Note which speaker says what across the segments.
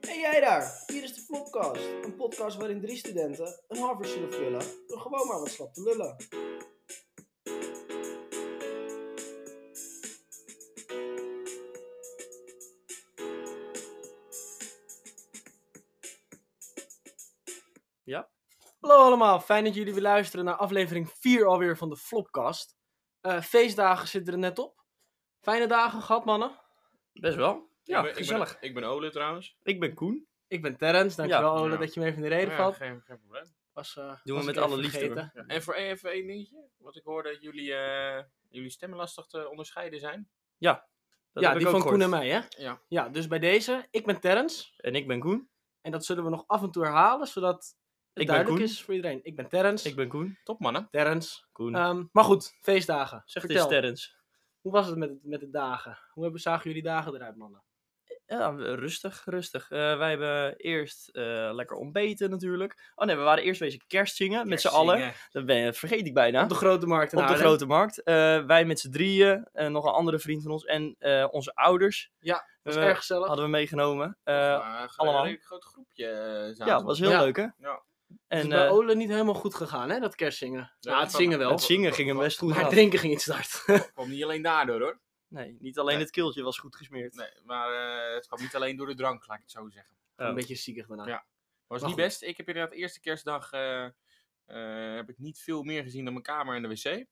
Speaker 1: jij daar? Hier is de Flopcast. Een podcast waarin drie studenten een Harvard zullen vullen door gewoon maar wat slap te lullen.
Speaker 2: Ja?
Speaker 1: Hallo allemaal, fijn dat jullie weer luisteren naar aflevering 4 alweer van de Flopcast. Eh, feestdagen zitten er net op. Fijne dagen gehad, mannen.
Speaker 2: Best wel. Ja,
Speaker 3: ik ben,
Speaker 2: gezellig.
Speaker 3: Ik ben, ik ben Ole trouwens.
Speaker 2: Ik ben Koen.
Speaker 1: Ik ben Terrence, dankjewel
Speaker 3: Ja.
Speaker 1: Ole
Speaker 3: Ja.
Speaker 1: dat je me even in de reden
Speaker 3: Ja,
Speaker 1: valt.
Speaker 3: geen, geen probleem.
Speaker 1: Was, eh,
Speaker 2: we
Speaker 1: was ik
Speaker 2: met
Speaker 1: even
Speaker 2: alle liefde.
Speaker 1: vergeten.
Speaker 3: Ja. En voor even één dingetje. Wat ik hoorde, dat jullie, eh, jullie stemmen lastig te onderscheiden zijn.
Speaker 2: Dat
Speaker 1: ja,
Speaker 2: heb
Speaker 1: die
Speaker 2: ik ook
Speaker 1: van Koen en
Speaker 2: gehoord.
Speaker 1: mij, hè?
Speaker 3: Ja.
Speaker 1: Ja, dus bij deze, ik ben Terrence.
Speaker 2: En ik ben Koen.
Speaker 1: En dat zullen we nog af en toe herhalen, zodat het
Speaker 2: ben
Speaker 1: duidelijk
Speaker 2: Koen.
Speaker 1: is voor iedereen. Ik ben Terrence.
Speaker 2: Ik ben Koen.
Speaker 3: Top mannen.
Speaker 1: Terrence.
Speaker 2: Koen.
Speaker 1: Ehm, maar goed, feestdagen.
Speaker 2: zeg het eens,
Speaker 1: Vertel,
Speaker 2: Terrence.
Speaker 1: hoe was het met, met de dagen? Hoe hebben, zagen jullie dagen eruit, mannen?
Speaker 2: Ja, rustig, rustig. Eh, wij hebben eerst eh, lekker ontbeten natuurlijk. Oh nee, we waren eerst wezen kerst zingen met z'n allen. Eh, Dat ben, dat vergeet ik bijna.
Speaker 1: Op de grote markt in
Speaker 2: Op de
Speaker 1: Haarlem.
Speaker 2: grote markt. Eh, wij met z'n drieën, en nog een andere vriend van ons en eh, onze ouders
Speaker 1: Ja, dat was
Speaker 2: eh,
Speaker 1: erg gezellig.
Speaker 2: hadden we meegenomen. Eh, allemaal.
Speaker 3: allemaal. Een groot groepje eh, zaten
Speaker 2: ja,
Speaker 3: we.
Speaker 2: was heel
Speaker 1: Ja. Dus
Speaker 2: leuk hè?
Speaker 3: Ja.
Speaker 1: Het
Speaker 2: En
Speaker 1: is bij
Speaker 2: eh,
Speaker 1: Ole niet helemaal goed gegaan, hè, dat kerstzingen.
Speaker 3: Ja,
Speaker 1: nou, het
Speaker 3: van-
Speaker 1: zingen wel.
Speaker 2: het zingen ging hem best goed
Speaker 1: maar
Speaker 2: af.
Speaker 1: drinken ging iets te hard.
Speaker 3: Het kwam niet alleen daardoor hoor.
Speaker 2: Nee, niet alleen
Speaker 3: Nee.
Speaker 2: het keeltje was goed gesmeerd.
Speaker 3: Nee, maar eh, het kwam niet alleen door de drank, laat ik het zo zeggen.
Speaker 2: Ja.
Speaker 1: Een beetje ziekig daarna.
Speaker 3: Ja. Was
Speaker 1: Maar
Speaker 3: niet
Speaker 1: goed.
Speaker 3: best. Ik heb inderdaad de eerste kerstdag eh, eh, heb ik niet veel meer gezien dan mijn kamer en de wc.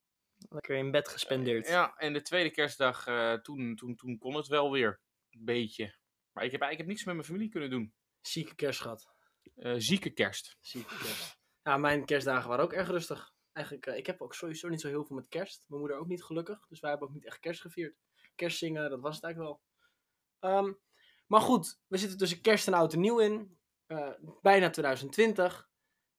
Speaker 2: Lekker in bed gespendeerd.
Speaker 3: Ja, en de tweede kerstdag, eh, toen, toen, toen kon het wel weer. Een beetje. Maar ik heb eigenlijk niks met mijn familie kunnen doen.
Speaker 1: Zieke kerst gehad.
Speaker 3: Eh, zieke kerst.
Speaker 1: Zieke kerst. Ja, Nou, mijn kerstdagen waren ook erg rustig. Eigenlijk, eh, ik heb ook sowieso niet zo heel veel met kerst. Mijn moeder ook niet gelukkig, dus wij hebben ook niet echt kerst gevierd. Kerstzingen, dat was het eigenlijk wel. Ehm, maar goed, we zitten tussen kerst en oud en nieuw in. Eh, bijna 2020.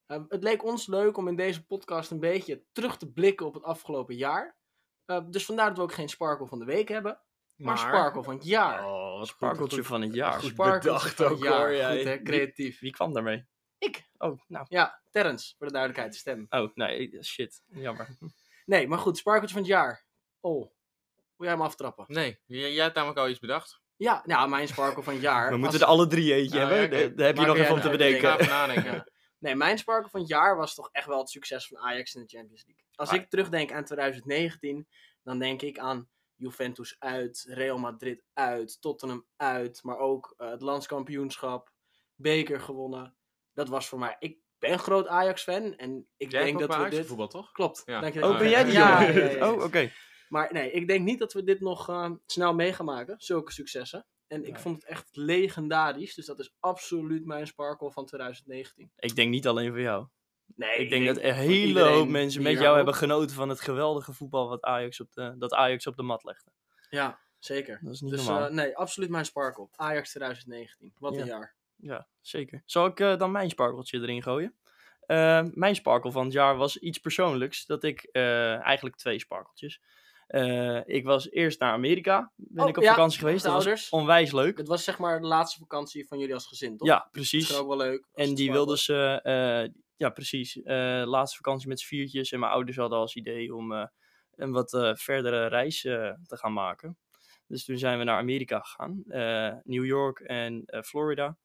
Speaker 1: Eh, het leek ons leuk om in deze podcast een beetje terug te blikken op het afgelopen jaar. Eh, dus vandaar dat we ook geen Sparkle van de week hebben, maar, Sparkle van het jaar.
Speaker 2: Oh, een sparkeltje van het jaar.
Speaker 1: Sparkeltje van het jaar.
Speaker 2: jij.
Speaker 1: Goed, hè? Creatief.
Speaker 2: Wie kwam daarmee?
Speaker 1: Ik.
Speaker 2: Oh, nou.
Speaker 1: Ja, Terrence, voor de duidelijkheid, stem.
Speaker 2: Oh, nee, shit. Jammer.
Speaker 1: Nee, maar goed, sparkeltje van het jaar. Oh, wil jij hem aftrappen?
Speaker 3: Nee, j- jij hebt namelijk al iets bedacht.
Speaker 1: Ja, nou, mijn sparkel van het jaar.
Speaker 2: We
Speaker 1: was-
Speaker 2: moeten er alle drie eentje
Speaker 3: Oh, ja,
Speaker 2: hebben.
Speaker 3: oké.
Speaker 2: Daar- Daar heb
Speaker 1: Nou
Speaker 2: je
Speaker 1: Maak
Speaker 2: nog
Speaker 1: jij
Speaker 2: even om te
Speaker 1: nou even
Speaker 2: bedenken.
Speaker 3: Ik ga even nadenken.
Speaker 1: Nee, mijn sparkel van het jaar was toch echt wel het succes van Ajax in de Champions League. Als
Speaker 2: Ah.
Speaker 1: ik terugdenk aan 2019, dan denk ik aan Juventus uit, Real Madrid uit, Tottenham uit, maar ook eh, het landskampioenschap, beker gewonnen. Dat was voor mij. Ik ben een groot Ajax-fan en ik
Speaker 3: Jij
Speaker 1: denk
Speaker 3: hebt ook
Speaker 1: dat
Speaker 3: bij
Speaker 1: we
Speaker 3: Ajax
Speaker 1: dit.
Speaker 3: voetbal, toch?
Speaker 1: Klopt.
Speaker 3: Ja.
Speaker 1: Dank je dat
Speaker 2: Oh,
Speaker 1: je-
Speaker 2: ben jij die
Speaker 1: Ja,
Speaker 2: jongen?
Speaker 1: ja, ja, ja.
Speaker 2: Oh, oké.
Speaker 1: Maar nee, ik denk niet dat we dit nog eh, snel mee gaan maken, zulke successen. En ik
Speaker 2: Nee.
Speaker 1: vond het echt legendarisch, dus dat is absoluut mijn Sparkle van 2019.
Speaker 2: Ik denk niet alleen voor jou.
Speaker 1: Nee,
Speaker 2: Ik denk dat een hele
Speaker 1: iedereen
Speaker 2: hoop mensen
Speaker 1: die
Speaker 2: met
Speaker 1: daar
Speaker 2: jou hebben genoten van het geweldige voetbal wat Ajax op de, dat Ajax op de mat legde.
Speaker 1: Ja, zeker.
Speaker 2: Dat is niet
Speaker 1: Dus
Speaker 2: normaal.
Speaker 1: eh, nee, absoluut mijn Sparkle. Ajax 2019, wat
Speaker 2: Ja.
Speaker 1: een jaar.
Speaker 2: Ja, zeker. Zal ik eh, dan mijn sparkeltje erin gooien? Eh, mijn sparkel van het jaar was iets persoonlijks. Dat ik eh, eigenlijk twee sparkeltjes. Eh, ik was eerst naar Amerika. Ben
Speaker 1: Oh,
Speaker 2: ik op
Speaker 1: ja,
Speaker 2: vakantie geweest.
Speaker 1: met
Speaker 2: Dat
Speaker 1: de
Speaker 2: was
Speaker 1: ouders.
Speaker 2: onwijs leuk.
Speaker 1: Het was zeg maar de laatste vakantie van jullie als gezin, toch?
Speaker 2: Ja,
Speaker 1: Dat is
Speaker 2: precies.
Speaker 1: ook wel leuk. als
Speaker 2: En
Speaker 1: het Sparkle
Speaker 2: die wilden
Speaker 1: is.
Speaker 2: ze, eh, ja precies, eh, laatste vakantie met z'n viertjes. En mijn ouders hadden als idee om eh, een wat eh, verdere reis eh, te gaan maken. Dus toen zijn we naar Amerika gegaan. eh, New York en eh, Florida.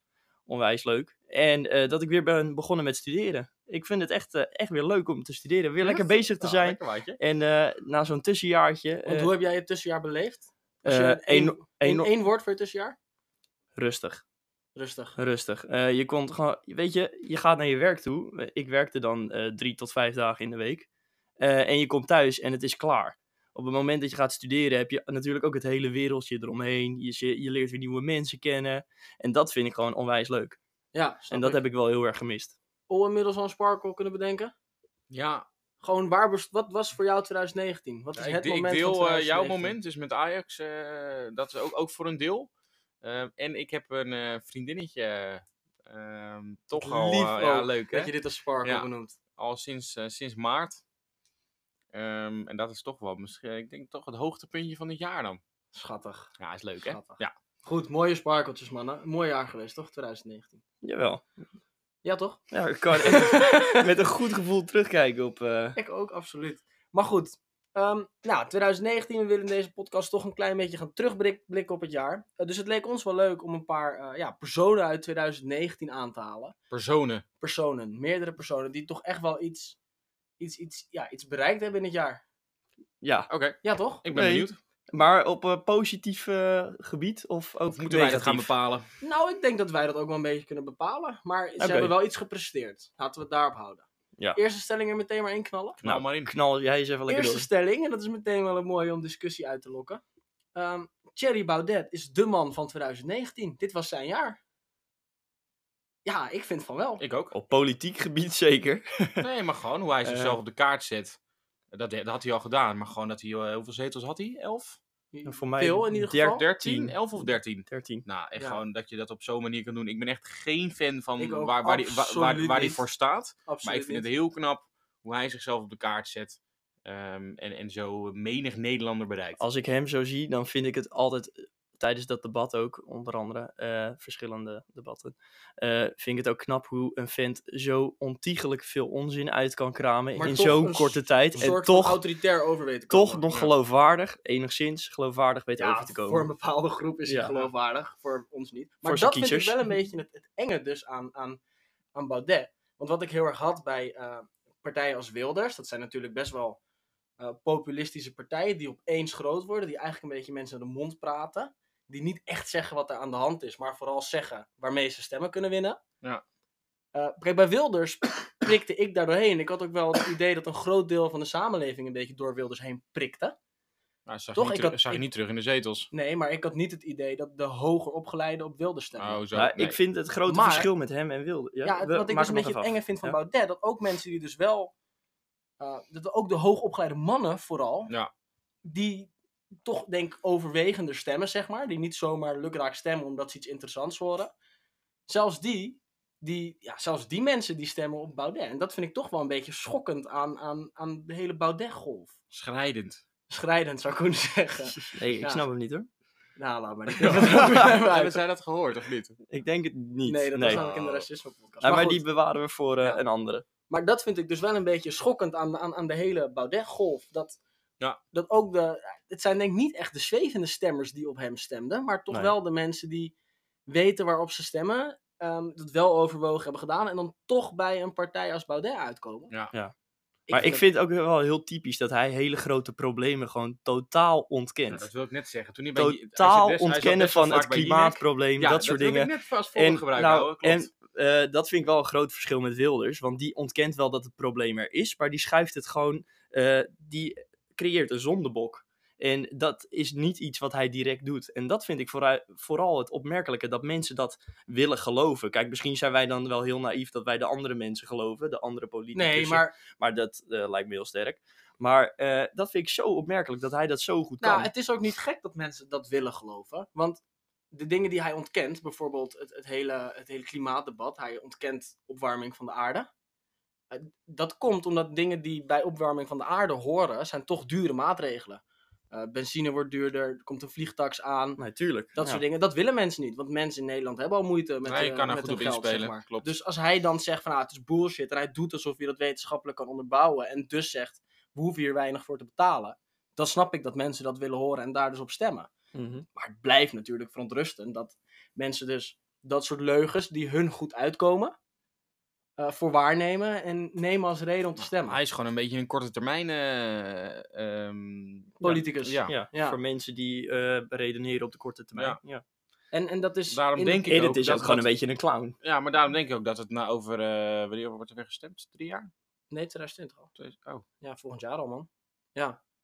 Speaker 2: Onwijs leuk. En eh, dat ik weer ben begonnen met studeren. Ik vind het echt, eh, echt weer leuk om te studeren. Weer lekker bezig te
Speaker 3: Ja,
Speaker 2: zijn.
Speaker 3: lekker maatje.
Speaker 2: En eh, na zo'n tussenjaartje,
Speaker 1: Want
Speaker 2: eh,
Speaker 1: hoe heb jij het tussenjaar beleefd? Als je
Speaker 2: eh,
Speaker 1: een-
Speaker 2: eno-
Speaker 1: één- één
Speaker 2: eno-
Speaker 1: één woord voor het tussenjaar?
Speaker 2: rustig.
Speaker 1: Rustig.
Speaker 2: Rustig. Eh, je komt gewoon, weet je, je gaat naar je werk toe. Ik werkte dan eh, drie tot vijf dagen in de week. Eh, en je komt thuis en het is klaar. Op het moment dat je gaat studeren heb je natuurlijk ook het hele wereldje eromheen. Je, zi- je leert weer nieuwe mensen kennen. En dat vind ik gewoon onwijs leuk.
Speaker 1: Ja, snap
Speaker 2: En dat
Speaker 1: ik.
Speaker 2: heb ik wel heel erg gemist.
Speaker 1: Oh, inmiddels al een Sparkle kunnen bedenken?
Speaker 3: Ja,
Speaker 1: Gewoon, waar best- wat was voor jou 2019? Wat is
Speaker 3: ik,
Speaker 1: het
Speaker 3: de- ik
Speaker 1: moment van
Speaker 3: deel eh,
Speaker 1: 2019?
Speaker 3: jouw moment, dus met Ajax, eh, dat is ook, ook voor een deel. Eh, en ik heb een eh, vriendinnetje, ehm, toch al,
Speaker 1: Lief
Speaker 3: eh, ja,
Speaker 1: ook,
Speaker 3: leuk hè?
Speaker 1: Dat je dit als Sparkle
Speaker 3: Ja.
Speaker 1: benoemt.
Speaker 3: Al sinds, eh, sinds maart. Ehm, en dat is toch wel, misschien, ik denk toch het hoogtepuntje van het jaar dan.
Speaker 1: Schattig.
Speaker 3: Ja, is leuk hè?
Speaker 1: Schattig.
Speaker 3: Ja,
Speaker 1: Goed, mooie sparkeltjes, mannen. Een mooi jaar geweest, toch? 2019.
Speaker 2: Jawel.
Speaker 1: Ja, toch?
Speaker 2: Ja, ik kan echt met een goed gevoel terugkijken op... eh,
Speaker 1: Ik ook, absoluut. Maar goed, eh, Ehm, nou, 2019, we willen in deze podcast toch een klein beetje gaan terugblikken op het jaar. Eh, dus het leek ons wel leuk om een paar eh, ja, personen uit 2019 aan te halen.
Speaker 3: Personen.
Speaker 1: Personen, meerdere personen, die toch echt wel iets, iets, iets, ja, iets bereikt hebben in het jaar.
Speaker 2: Ja,
Speaker 3: Oké,
Speaker 1: Ja, toch?
Speaker 3: ik ben
Speaker 2: Nee.
Speaker 3: benieuwd.
Speaker 2: maar op eh, positief eh, gebied of ook
Speaker 3: Of moeten wij dat gaan
Speaker 2: negatief?
Speaker 3: bepalen?
Speaker 1: Nou, ik denk dat wij dat ook wel een beetje kunnen bepalen. Maar ze
Speaker 2: Oké.
Speaker 1: hebben wel iets gepresteerd. Laten we het daarop houden.
Speaker 2: Ja.
Speaker 1: Eerste stelling er meteen maar in knallen.
Speaker 3: Nou,
Speaker 2: Nou,
Speaker 3: maar in.
Speaker 2: Knal jij eens even lekker
Speaker 1: Eerste
Speaker 2: door.
Speaker 1: stelling, en dat is meteen wel een mooie om discussie uit te lokken. Ehm Thierry Baudet is de man van 2019. Dit was zijn jaar. Ja, ik vind van wel.
Speaker 3: Ik ook.
Speaker 2: Op politiek gebied zeker.
Speaker 3: Nee, maar gewoon hoe hij
Speaker 2: Eh.
Speaker 3: zichzelf op de kaart zet. Dat, dat had hij al gedaan, maar gewoon dat hij... eh, hoeveel zetels had hij? Elf?
Speaker 2: Voor mij
Speaker 1: Veel in ieder
Speaker 2: der-
Speaker 1: geval.
Speaker 2: der-
Speaker 3: 13?
Speaker 2: Tien.
Speaker 3: Elf of dertien?
Speaker 2: 13.
Speaker 3: Nou, echt
Speaker 1: Ja.
Speaker 3: gewoon dat je dat op zo'n manier kan doen. Ik ben echt geen fan van
Speaker 1: Ik ook
Speaker 3: waar, waar, die, waar, waar-
Speaker 1: absoluut
Speaker 3: waar die
Speaker 1: niet.
Speaker 3: voor staat.
Speaker 1: Absoluut
Speaker 3: Maar ik vind
Speaker 1: niet.
Speaker 3: het heel knap hoe hij zichzelf op de kaart zet. ehm, en, en zo menig Nederlander bereikt.
Speaker 2: Als ik hem zo zie, dan vind ik het altijd eh, tijdens dat debat ook, onder andere eh, verschillende debatten, eh, vind ik het ook knap hoe een vent zo ontiegelijk veel onzin uit kan kramen
Speaker 1: Maar
Speaker 2: in
Speaker 1: toch
Speaker 2: zo'n
Speaker 1: een
Speaker 2: korte tijd.
Speaker 1: Een
Speaker 2: En
Speaker 1: soort van
Speaker 2: toch,
Speaker 1: autoritair over weten komen.
Speaker 2: toch nog
Speaker 3: ja.
Speaker 2: geloofwaardig, enigszins geloofwaardig weet
Speaker 1: ja,
Speaker 2: over te komen.
Speaker 1: voor een bepaalde groep is hij
Speaker 2: Ja.
Speaker 1: geloofwaardig, voor ons niet. Maar
Speaker 2: Voor zijn
Speaker 1: dat vind ik
Speaker 2: kiezers.
Speaker 1: wel een beetje het, het enge dus aan, aan, aan Baudet. Want wat ik heel erg had bij eh, partijen als Wilders, dat zijn natuurlijk best wel eh, populistische partijen die opeens groot worden, die eigenlijk een beetje mensen naar de mond praten, die niet echt zeggen wat er aan de hand is, maar vooral zeggen waarmee ze stemmen kunnen winnen.
Speaker 3: Ja.
Speaker 1: Eh, kijk, bij Wilders prikte ik daar doorheen. Ik had ook wel het idee dat een groot deel van de samenleving een beetje door Wilders heen prikte.
Speaker 3: Nou, zag
Speaker 1: toch,
Speaker 3: je niet,
Speaker 1: ik
Speaker 3: teru-
Speaker 1: had-
Speaker 3: zag je
Speaker 1: ik-
Speaker 3: niet terug in de zetels.
Speaker 1: Nee, maar ik had niet het idee dat de hoger opgeleiden op wilden stemmen.
Speaker 3: Oh, zo.
Speaker 2: Ja,
Speaker 3: nee.
Speaker 2: Nou, Ik vind het grote
Speaker 1: Maar-
Speaker 2: verschil met hem en Wilde. Ja,
Speaker 1: ja, het-
Speaker 2: we-
Speaker 1: wat ik
Speaker 2: maak
Speaker 1: dus een
Speaker 2: hem
Speaker 1: beetje
Speaker 2: nog
Speaker 1: het
Speaker 2: even
Speaker 1: enge
Speaker 2: af.
Speaker 1: vind van
Speaker 2: Ja.
Speaker 1: Baudet, dat ook mensen die dus wel, eh, dat ook de hoogopgeleide mannen vooral,
Speaker 3: Ja.
Speaker 1: die toch denk ik overwegender stemmen, zeg maar, die niet zomaar lukraak stemmen omdat ze iets interessants horen. Zelfs die, die, ja, zelfs die mensen die stemmen op Baudet. En dat vind ik toch wel een beetje schokkend aan, aan, aan de hele Baudet-golf.
Speaker 3: Schrijdend.
Speaker 1: Schrijdend zou ik kunnen zeggen.
Speaker 2: Nee, ik
Speaker 1: Ja.
Speaker 2: snap hem niet hoor.
Speaker 1: nou, laat maar. Dit-
Speaker 3: Hebben zij dat gehoord of niet?
Speaker 2: Ik denk het niet.
Speaker 1: Nee, dat was namelijk in de
Speaker 3: Oh.
Speaker 1: racisme-podcast.
Speaker 2: Ja, maar
Speaker 1: goed.
Speaker 2: die bewaren we voor eh,
Speaker 1: Ja.
Speaker 2: een andere.
Speaker 1: Maar dat vind ik dus wel een beetje schokkend aan, aan, aan de hele Baudet-golf. Dat,
Speaker 3: Ja.
Speaker 1: dat ook de. Het zijn denk ik niet echt de zwevende stemmers die op hem stemden. Maar toch
Speaker 2: Nee.
Speaker 1: wel de mensen die weten waarop ze stemmen. ehm, dat wel overwogen hebben gedaan. En dan toch bij een partij als Baudet uitkomen.
Speaker 3: Ja.
Speaker 2: Ja. Maar ik
Speaker 1: dat-
Speaker 2: vind het ook wel heel typisch dat hij hele grote problemen gewoon totaal ontkent.
Speaker 3: dat wil ik net zeggen. Toen hij bij- hij zat
Speaker 2: totaal
Speaker 3: best- hij zat
Speaker 2: ontkennen
Speaker 3: best wel
Speaker 2: van het
Speaker 3: vaak bij Jinek.
Speaker 2: klimaatprobleem, dat soort
Speaker 3: wil
Speaker 2: dingen.
Speaker 3: Ik net vast voor
Speaker 2: En,
Speaker 3: gebruiken.
Speaker 2: nou,
Speaker 3: houden, klopt.
Speaker 2: en eh, dat vind ik wel een groot verschil met Wilders. Want die ontkent wel dat het probleem er is, maar die schuift het gewoon. eh, die creëert een zondebok. En dat is niet iets wat hij direct doet. En dat vind ik voorui- vooral het opmerkelijke, dat mensen dat willen geloven. Kijk, misschien zijn wij dan wel heel naïef dat wij de andere mensen geloven, de andere politici.
Speaker 1: Nee, maar
Speaker 2: Maar dat eh, lijkt me heel sterk. Maar eh, dat vind ik zo opmerkelijk dat hij dat zo goed kan.
Speaker 1: nou, het is ook niet gek dat mensen dat willen geloven. Want de dingen die hij ontkent, bijvoorbeeld het, het, hele, het hele klimaatdebat. Hij ontkent opwarming van de aarde. Eh, dat komt omdat dingen die bij opwarming van de aarde horen, zijn toch dure maatregelen. Eh, benzine wordt duurder, er komt een vliegtax aan,
Speaker 2: Nee, tuurlijk.
Speaker 1: dat
Speaker 2: Ja.
Speaker 1: soort dingen. Dat willen mensen niet, want mensen in Nederland hebben al moeite met,
Speaker 3: Nee, je
Speaker 1: eh,
Speaker 3: kan daar
Speaker 1: met
Speaker 3: goed
Speaker 1: hun
Speaker 3: op
Speaker 1: geld,
Speaker 3: inspelen,
Speaker 1: zeg maar.
Speaker 3: klopt.
Speaker 1: Dus als hij dan zegt van ah, het is bullshit en hij doet alsof hij dat wetenschappelijk kan onderbouwen en dus zegt we hoeven hier weinig voor te betalen, dan snap ik dat mensen dat willen horen en daar dus op stemmen.
Speaker 2: Mhm.
Speaker 1: Maar het blijft natuurlijk verontrustend dat mensen dus dat soort leugens die hun goed uitkomen, eh, voor waarnemen en nemen als reden om te stemmen.
Speaker 3: Hij is gewoon een beetje een korte termijn... eh, ehm,
Speaker 1: Politicus.
Speaker 3: Ja.
Speaker 2: Ja,
Speaker 1: Ja.
Speaker 2: voor mensen die eh, redeneren op de korte termijn.
Speaker 3: Ja.
Speaker 2: Ja.
Speaker 1: En, en dat is
Speaker 3: Daarom
Speaker 1: in-
Speaker 3: denk ik
Speaker 2: En
Speaker 3: ook
Speaker 2: het is
Speaker 3: dat
Speaker 2: ook gewoon
Speaker 3: dat-
Speaker 2: een beetje een clown.
Speaker 3: Ja, maar daarom denk ik ook dat het na over... eh wanneer wordt er weer gestemd? Drie jaar?
Speaker 1: e- Nee, 2020 al.
Speaker 3: Twee- Oh, oké.
Speaker 1: Ja, volgend jaar al, man.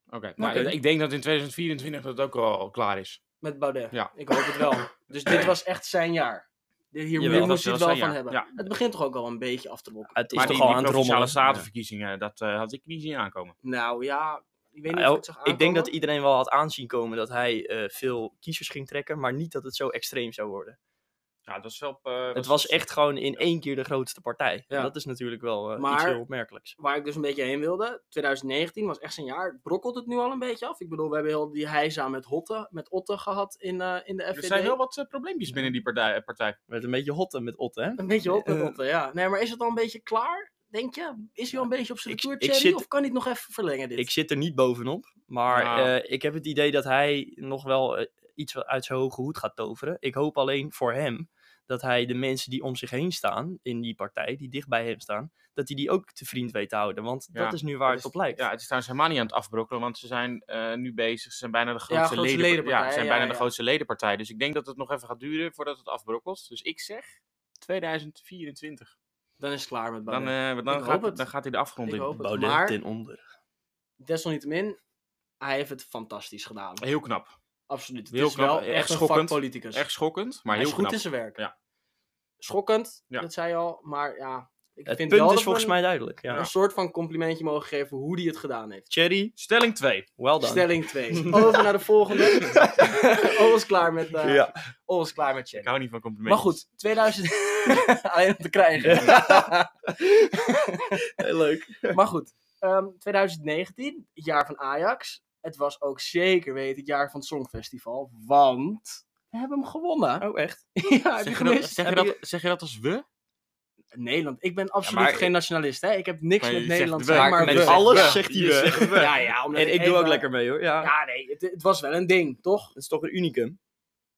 Speaker 3: Nou,
Speaker 2: Oké.
Speaker 3: Ik denk dat in 2024 dat ook al, al klaar is.
Speaker 1: Met Baudet.
Speaker 3: Ja.
Speaker 1: Ik hoop het wel. Dus dit was echt zijn jaar. Hier, hier
Speaker 2: Jawel, dat
Speaker 1: moest hij
Speaker 3: was
Speaker 1: het wel
Speaker 3: zijn
Speaker 1: van
Speaker 3: jaar,
Speaker 1: hebben.
Speaker 3: ja.
Speaker 1: Het begint toch ook al een beetje af te blokken.
Speaker 2: Het is
Speaker 3: maar
Speaker 2: toch
Speaker 3: die,
Speaker 2: al
Speaker 3: die
Speaker 2: aan het
Speaker 3: provinciale
Speaker 2: rommelen.
Speaker 3: statenverkiezingen, dat eh, had ik niet zien aankomen.
Speaker 1: Nou ja, ik weet niet
Speaker 2: Ja,
Speaker 3: Nou,
Speaker 1: of ik het zag
Speaker 2: ik denk dat
Speaker 1: aankomen.
Speaker 2: iedereen wel had aanzien komen dat hij eh, veel kiezers ging trekken, maar niet dat het zo extreem zou worden.
Speaker 3: Ja, dat was wel... eh,
Speaker 2: het
Speaker 3: dat
Speaker 2: was echt gewoon in één keer de grootste partij.
Speaker 1: Ja.
Speaker 2: Dat is natuurlijk wel eh, iets
Speaker 1: Maar-
Speaker 2: heel opmerkelijks.
Speaker 1: Waar ik dus een beetje heen wilde. 2019 was echt zijn jaar. Brokkelt het nu al een beetje af? Ik bedoel, we hebben heel die heisa met, Hotte, met Otte gehad in, eh, in de
Speaker 3: Er
Speaker 1: FVD.
Speaker 3: zijn wel wat eh, probleempjes binnen die partij. partij.
Speaker 2: Werd een beetje hotten met Otte, hè?
Speaker 1: Een beetje op met
Speaker 2: Eh,
Speaker 1: Otte, ja. Nee, maar is het al een beetje klaar? Denk je, is hij al een beetje op zijn
Speaker 2: Ik-
Speaker 1: retour,
Speaker 2: ik
Speaker 1: Thierry?
Speaker 2: zit-
Speaker 1: Of kan hij het nog even verlengen dit?
Speaker 2: Ik zit er niet bovenop. Maar
Speaker 3: Nou.
Speaker 2: eh, ik heb het idee dat hij nog wel eh, iets wat uit zijn hoge hoed gaat toveren. Ik hoop alleen voor hem dat hij de mensen die om zich heen staan in die partij, die dicht bij hem staan, dat hij die ook te vriend weet te houden. Want
Speaker 3: Ja,
Speaker 2: dat is nu waar
Speaker 3: dat
Speaker 2: het
Speaker 3: is-
Speaker 2: op lijkt.
Speaker 3: Ja, het is trouwens helemaal niet aan het afbrokkelen, want ze zijn eh, nu bezig. Ze zijn bijna de grootste,
Speaker 1: grootste
Speaker 3: leden-
Speaker 1: ledenpartij,
Speaker 3: Ja, ze zijn
Speaker 1: ja,
Speaker 3: bijna
Speaker 1: ja.
Speaker 3: de grootste ledenpartij. Dus ik denk dat het nog even gaat duren voordat het afbrokkelt. Dus ik zeg 2024.
Speaker 1: Dan is het klaar met
Speaker 3: Dan,
Speaker 1: Baudet.
Speaker 3: eh, dan,
Speaker 1: Ik
Speaker 3: gaat,
Speaker 1: hoop het.
Speaker 3: dan gaat hij de afgrond
Speaker 1: Ik
Speaker 3: in.
Speaker 1: hoop het.
Speaker 2: Baudet
Speaker 1: maar-
Speaker 2: ten onder.
Speaker 1: Desalniettemin, hij heeft het fantastisch gedaan.
Speaker 3: Heel knap.
Speaker 1: Absoluut. Het
Speaker 3: Heel
Speaker 1: is
Speaker 3: knap.
Speaker 1: wel
Speaker 3: Echt
Speaker 1: echt een
Speaker 3: schokkend.
Speaker 1: vakpoliticus.
Speaker 3: Echt schokkend, maar
Speaker 1: hij
Speaker 3: heel
Speaker 1: is Dus goed
Speaker 3: knap.
Speaker 1: in zijn werk.
Speaker 3: Ja.
Speaker 1: Schokkend,
Speaker 3: Ja.
Speaker 1: dat zei je al. Maar ja, ik
Speaker 2: Het
Speaker 1: vind
Speaker 2: punt
Speaker 1: wel
Speaker 2: is
Speaker 1: dat
Speaker 2: volgens
Speaker 1: we een,
Speaker 2: mij duidelijk. Ja.
Speaker 1: een soort van complimentje mogen geven hoe hij het gedaan heeft.
Speaker 2: Thierry,
Speaker 3: Stelling 2.
Speaker 2: well done.
Speaker 1: Stelling 2. Over naar de volgende. Alles klaar met, eh
Speaker 2: Ja.
Speaker 1: alles klaar met
Speaker 3: Ik
Speaker 1: Thierry.
Speaker 3: hou niet van complimenten.
Speaker 1: Maar goed, 2000... Alleen om te krijgen.
Speaker 2: Heel leuk.
Speaker 1: Maar goed, ehm, 2019, het jaar van Ajax. Het was ook zeker weten het jaar van het Songfestival, want we hebben hem gewonnen.
Speaker 2: Oh, echt?
Speaker 1: ja, heb je
Speaker 3: Zeg je, dat,
Speaker 1: gemist?
Speaker 3: zeg, je
Speaker 1: Heb
Speaker 3: dat,
Speaker 1: je-
Speaker 3: zeg je dat als we?
Speaker 1: Nederland, ik ben absoluut
Speaker 2: maar-
Speaker 1: geen nationalist, hè. Ik heb niks
Speaker 3: Maar je
Speaker 1: met
Speaker 3: zegt
Speaker 1: Nederland,
Speaker 3: we.
Speaker 1: zeg maar
Speaker 2: Met
Speaker 1: we.
Speaker 2: alles
Speaker 3: we.
Speaker 2: zegt hij
Speaker 3: Je
Speaker 2: we.
Speaker 3: zegt we.
Speaker 1: Ja, ja, omdat
Speaker 2: En ik doe ook
Speaker 1: even-
Speaker 2: lekker mee hoor. Ja.
Speaker 1: Ja, nee, het, het was wel een ding, toch?
Speaker 2: Dat is toch een unicum.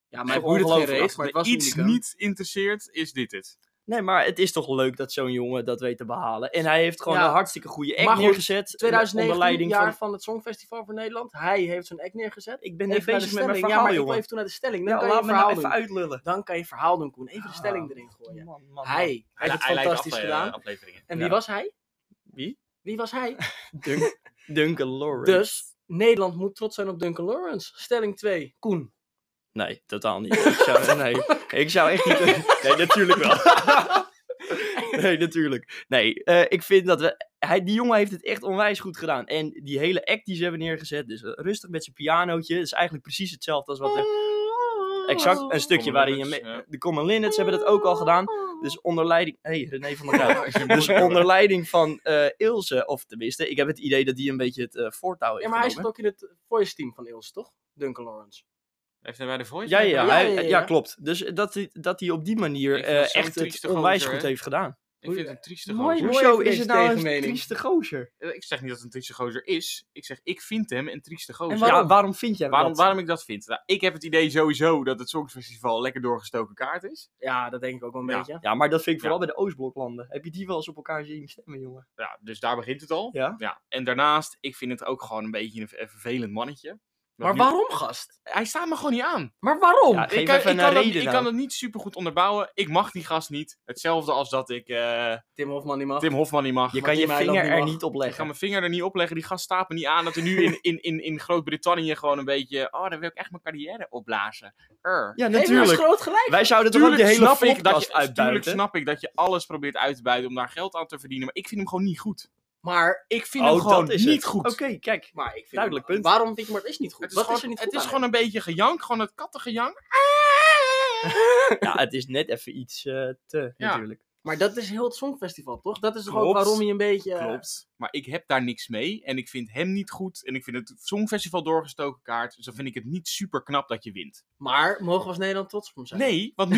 Speaker 1: Ja, maar
Speaker 2: Toch
Speaker 1: ik boeide het geen
Speaker 2: ongelooflijk.
Speaker 1: reet, maar het was
Speaker 3: iets
Speaker 1: unicum.
Speaker 3: niet interesseert, is dit het.
Speaker 2: Nee, maar het is toch leuk dat zo'n jongen dat weet te behalen. En hij heeft gewoon
Speaker 1: Ja.
Speaker 2: een hartstikke goede
Speaker 1: Maar
Speaker 2: act
Speaker 1: goed,
Speaker 2: neergezet. onder
Speaker 1: 2019,
Speaker 2: leiding
Speaker 1: jaar
Speaker 2: van...
Speaker 1: van... het Songfestival voor Nederland. Hij heeft zo'n act neergezet.
Speaker 2: Ik ben
Speaker 1: Even
Speaker 2: net
Speaker 1: naar de
Speaker 2: bezig met mijn
Speaker 1: stelling.
Speaker 2: verhaal,
Speaker 1: ja, maar ik wil
Speaker 2: jongen.
Speaker 1: even toe naar de stelling. Dan
Speaker 2: Ja,
Speaker 1: kan je
Speaker 2: laat
Speaker 1: een
Speaker 2: me nou
Speaker 1: verhaal
Speaker 2: even
Speaker 1: doen.
Speaker 2: uitlullen.
Speaker 1: Dan kan je verhaal doen, Koen. Even de stelling
Speaker 2: Ah,
Speaker 1: erin gooien.
Speaker 2: Man, man, man.
Speaker 1: Hij heeft het fantastisch gedaan.
Speaker 3: eh, afleveringen.
Speaker 1: En
Speaker 2: Ja.
Speaker 1: wie was hij?
Speaker 2: Wie?
Speaker 1: Wie was hij?
Speaker 2: Dun- Duncan Lawrence.
Speaker 1: Dus Nederland moet trots zijn op Duncan Lawrence. Stelling 2. Koen.
Speaker 2: Nee, totaal niet. Ik zou, nee, ik zou echt niet... Nee, natuurlijk wel. Nee, natuurlijk. Nee, eh, ik vind dat we... Hij, die jongen heeft het echt onwijs goed gedaan. En die hele act die ze hebben neergezet, dus eh, rustig met zijn pianootje, dat is eigenlijk precies hetzelfde als wat
Speaker 1: Oh.
Speaker 2: er... Exact, een stukje
Speaker 3: Common
Speaker 2: waarin je...
Speaker 3: Linnets,
Speaker 2: me-
Speaker 3: ja.
Speaker 2: De Common Linnets hebben dat ook al gedaan. Dus onder leiding. Hé, hey, René van der Kuip. dus onder leiding van eh Ilse, of tenminste, ik heb het idee dat die een beetje het eh, voortouw heeft.
Speaker 1: Ja, maar hij zit
Speaker 2: genomen.
Speaker 1: ook in het voice team van Ilse, toch? Duncan Lawrence.
Speaker 3: eh, Heeft hij bij de voice?
Speaker 2: ja, ja,
Speaker 1: Ja,
Speaker 2: hij-
Speaker 1: ja, ja.
Speaker 2: ja, klopt. Dus dat hij, dat hij op die manier
Speaker 3: Ik vind het
Speaker 2: eh,
Speaker 3: zo'n
Speaker 2: echt het
Speaker 3: trieste
Speaker 2: onwijs
Speaker 3: gozer,
Speaker 2: goed
Speaker 3: hè?
Speaker 2: heeft gedaan.
Speaker 3: Ik vind het een trieste
Speaker 1: Mooi.
Speaker 3: gozer.
Speaker 2: Hoezo
Speaker 1: even
Speaker 2: is
Speaker 1: deze
Speaker 2: het nou een
Speaker 1: tegenmening.
Speaker 2: trieste gozer?
Speaker 3: Eh, Ik zeg niet dat het een trieste gozer is. Ik zeg, ik vind hem een trieste gozer.
Speaker 1: En
Speaker 2: Waarom?
Speaker 1: Waarom?
Speaker 2: Ja, waarom vind jij
Speaker 3: Waarom,
Speaker 2: dat?
Speaker 3: waarom ik dat vind? Nou, ik heb het idee sowieso dat het Songfestival lekker doorgestoken kaart is.
Speaker 1: Ja, dat denk ik ook wel een
Speaker 3: Ja.
Speaker 1: beetje.
Speaker 2: Ja, maar dat vind ik vooral bij de Oostbloklanden. Heb je die wel eens op elkaar zien stemmen, jongen?
Speaker 3: Ja, dus daar begint het al.
Speaker 2: Ja?
Speaker 3: En daarnaast, ik vind het ook gewoon een beetje een, een vervelend mannetje. Wat
Speaker 1: Maar
Speaker 3: nu-
Speaker 1: waarom, gast?
Speaker 3: Hij staat me gewoon niet aan.
Speaker 1: Maar waarom?
Speaker 2: Ja, geef
Speaker 3: ik kan,
Speaker 2: even
Speaker 3: ik
Speaker 2: een
Speaker 3: kan dat,
Speaker 2: reden
Speaker 3: Ik
Speaker 2: dan.
Speaker 3: kan het niet super goed onderbouwen. Ik mag die gast niet. Hetzelfde als dat ik eh,
Speaker 1: Tim Hofman die mag.
Speaker 3: Tim Hofman niet mag.
Speaker 2: Je
Speaker 1: Maar
Speaker 2: kan je
Speaker 1: Tim Eiland
Speaker 2: vinger
Speaker 1: die
Speaker 2: er
Speaker 1: mag.
Speaker 2: niet op
Speaker 3: Ik ga
Speaker 2: leggen.
Speaker 3: mijn vinger er niet op leggen. Die gast staat me niet aan. Dat er nu in, in, in, in Groot-Brittannië gewoon een beetje... Oh, dan wil ik echt mijn carrière opblazen. Er.
Speaker 2: Ja,
Speaker 1: Heeft hij
Speaker 2: natuurlijk.
Speaker 1: groot gelijk?
Speaker 2: Wij zouden toch ook
Speaker 3: Tuurlijk
Speaker 2: de hele
Speaker 3: snap, ik dat
Speaker 2: podcast
Speaker 3: je, tuurlijk
Speaker 2: uitbuiten?
Speaker 3: snap ik dat je alles probeert uit te buiten om daar geld aan te verdienen. Maar ik vind hem gewoon niet goed.
Speaker 1: Maar
Speaker 3: Ik vind
Speaker 2: Oh,
Speaker 3: hem gewoon niet goed.
Speaker 2: Oké, kijk.
Speaker 1: Maar ik vind
Speaker 2: Duidelijk punt.
Speaker 1: Waarom vind ik maar het is niet goed?
Speaker 3: Het is,
Speaker 1: Wat
Speaker 3: gewoon,
Speaker 1: is er niet
Speaker 3: het
Speaker 1: goed
Speaker 3: is
Speaker 1: aan?
Speaker 3: gewoon een beetje gejank. Gewoon het kattengejank.
Speaker 2: Ja, het is net even iets eh, te,
Speaker 3: Ja.
Speaker 2: natuurlijk.
Speaker 1: Maar dat is heel het Songfestival, toch? Dat is toch ook
Speaker 3: Klopt.
Speaker 1: waarom hij een beetje... eh,
Speaker 3: Klopt. Maar ik heb daar niks mee. En ik vind hem niet goed. En ik vind het Songfestival doorgestoken kaart. Dus dan vind ik het niet super knap dat je wint.
Speaker 1: Maar mogen we als Nederland trots op hem zijn?
Speaker 3: Nee, want nu,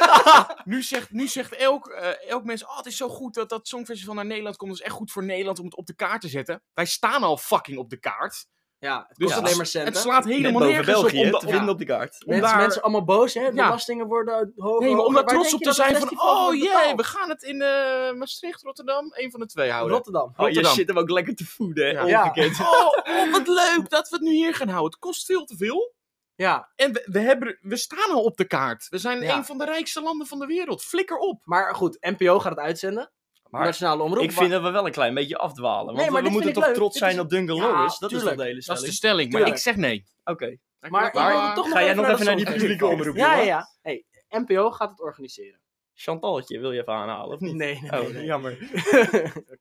Speaker 3: nu, zegt, nu zegt elk, eh, elk mens... Oh, het is zo goed dat dat Songfestival naar Nederland komt. Dat is echt goed voor Nederland om het op de kaart te zetten. Wij staan al fucking op de kaart.
Speaker 1: Ja, het
Speaker 3: Dus
Speaker 1: kost
Speaker 2: het-
Speaker 1: alleen maar
Speaker 3: Het
Speaker 1: centen.
Speaker 3: slaat
Speaker 2: Net
Speaker 3: helemaal
Speaker 2: boven
Speaker 3: nergens
Speaker 2: België
Speaker 3: op. om
Speaker 2: hè,
Speaker 3: da-
Speaker 2: te
Speaker 3: ja.
Speaker 2: vinden op de kaart.
Speaker 1: Mensen,
Speaker 3: daar-
Speaker 1: mensen allemaal boos, hè? De
Speaker 3: Ja.
Speaker 1: belastingen worden hoger.
Speaker 3: Nee, Oh, maar om
Speaker 1: hoger.
Speaker 3: daar
Speaker 1: Waar
Speaker 3: trots
Speaker 1: denk
Speaker 3: op
Speaker 1: je dat
Speaker 3: te
Speaker 1: het
Speaker 3: zijn van...
Speaker 1: festival
Speaker 3: Oh
Speaker 1: wordt
Speaker 3: jee,
Speaker 1: betaald?
Speaker 3: we gaan het in eh, Maastricht, Rotterdam. Een van de twee houden.
Speaker 1: Rotterdam.
Speaker 2: Oh, je
Speaker 3: Rotterdam.
Speaker 2: zit hem ook lekker te voeden, hè?
Speaker 3: Ja.
Speaker 1: Ja.
Speaker 2: Ongekend.
Speaker 3: Oh, oh, wat leuk dat we het nu hier gaan houden. Het kost veel te veel.
Speaker 1: Ja,
Speaker 3: En we, we, hebben, we staan al op de kaart. We zijn
Speaker 1: Ja.
Speaker 3: een van de rijkste landen van de wereld. Flikker op.
Speaker 1: maar goed, NPO gaat het uitzenden.
Speaker 2: Maar
Speaker 1: Nationale Omroep.
Speaker 2: Ik vind dat we wel een klein beetje afdwalen. Want
Speaker 1: Nee, maar
Speaker 2: we
Speaker 1: dit
Speaker 2: moeten
Speaker 1: vind ik
Speaker 2: toch
Speaker 1: leuk.
Speaker 2: trots
Speaker 1: Dit is
Speaker 2: zijn op Duncan
Speaker 1: Ja,
Speaker 2: Lawrence? Dat is
Speaker 1: tuurlijk.
Speaker 2: toch de hele
Speaker 3: Dat is dus-
Speaker 2: stelling?
Speaker 3: de stelling, maar
Speaker 1: Tuurlijk.
Speaker 3: ik zeg nee.
Speaker 2: Oké.
Speaker 1: Maar ik
Speaker 3: Waar-
Speaker 1: wil toch nog
Speaker 2: Ga jij nog even
Speaker 1: dat
Speaker 2: naar die
Speaker 1: Songfestival.
Speaker 2: publieke omroep?
Speaker 1: Ja, ja,
Speaker 2: jongen?
Speaker 1: ja. Hey, NPO gaat het organiseren.
Speaker 2: Chantaltje wil je even aanhalen, of niet?
Speaker 1: Nee, nee,
Speaker 2: Oh,
Speaker 1: nee, nee.
Speaker 2: jammer.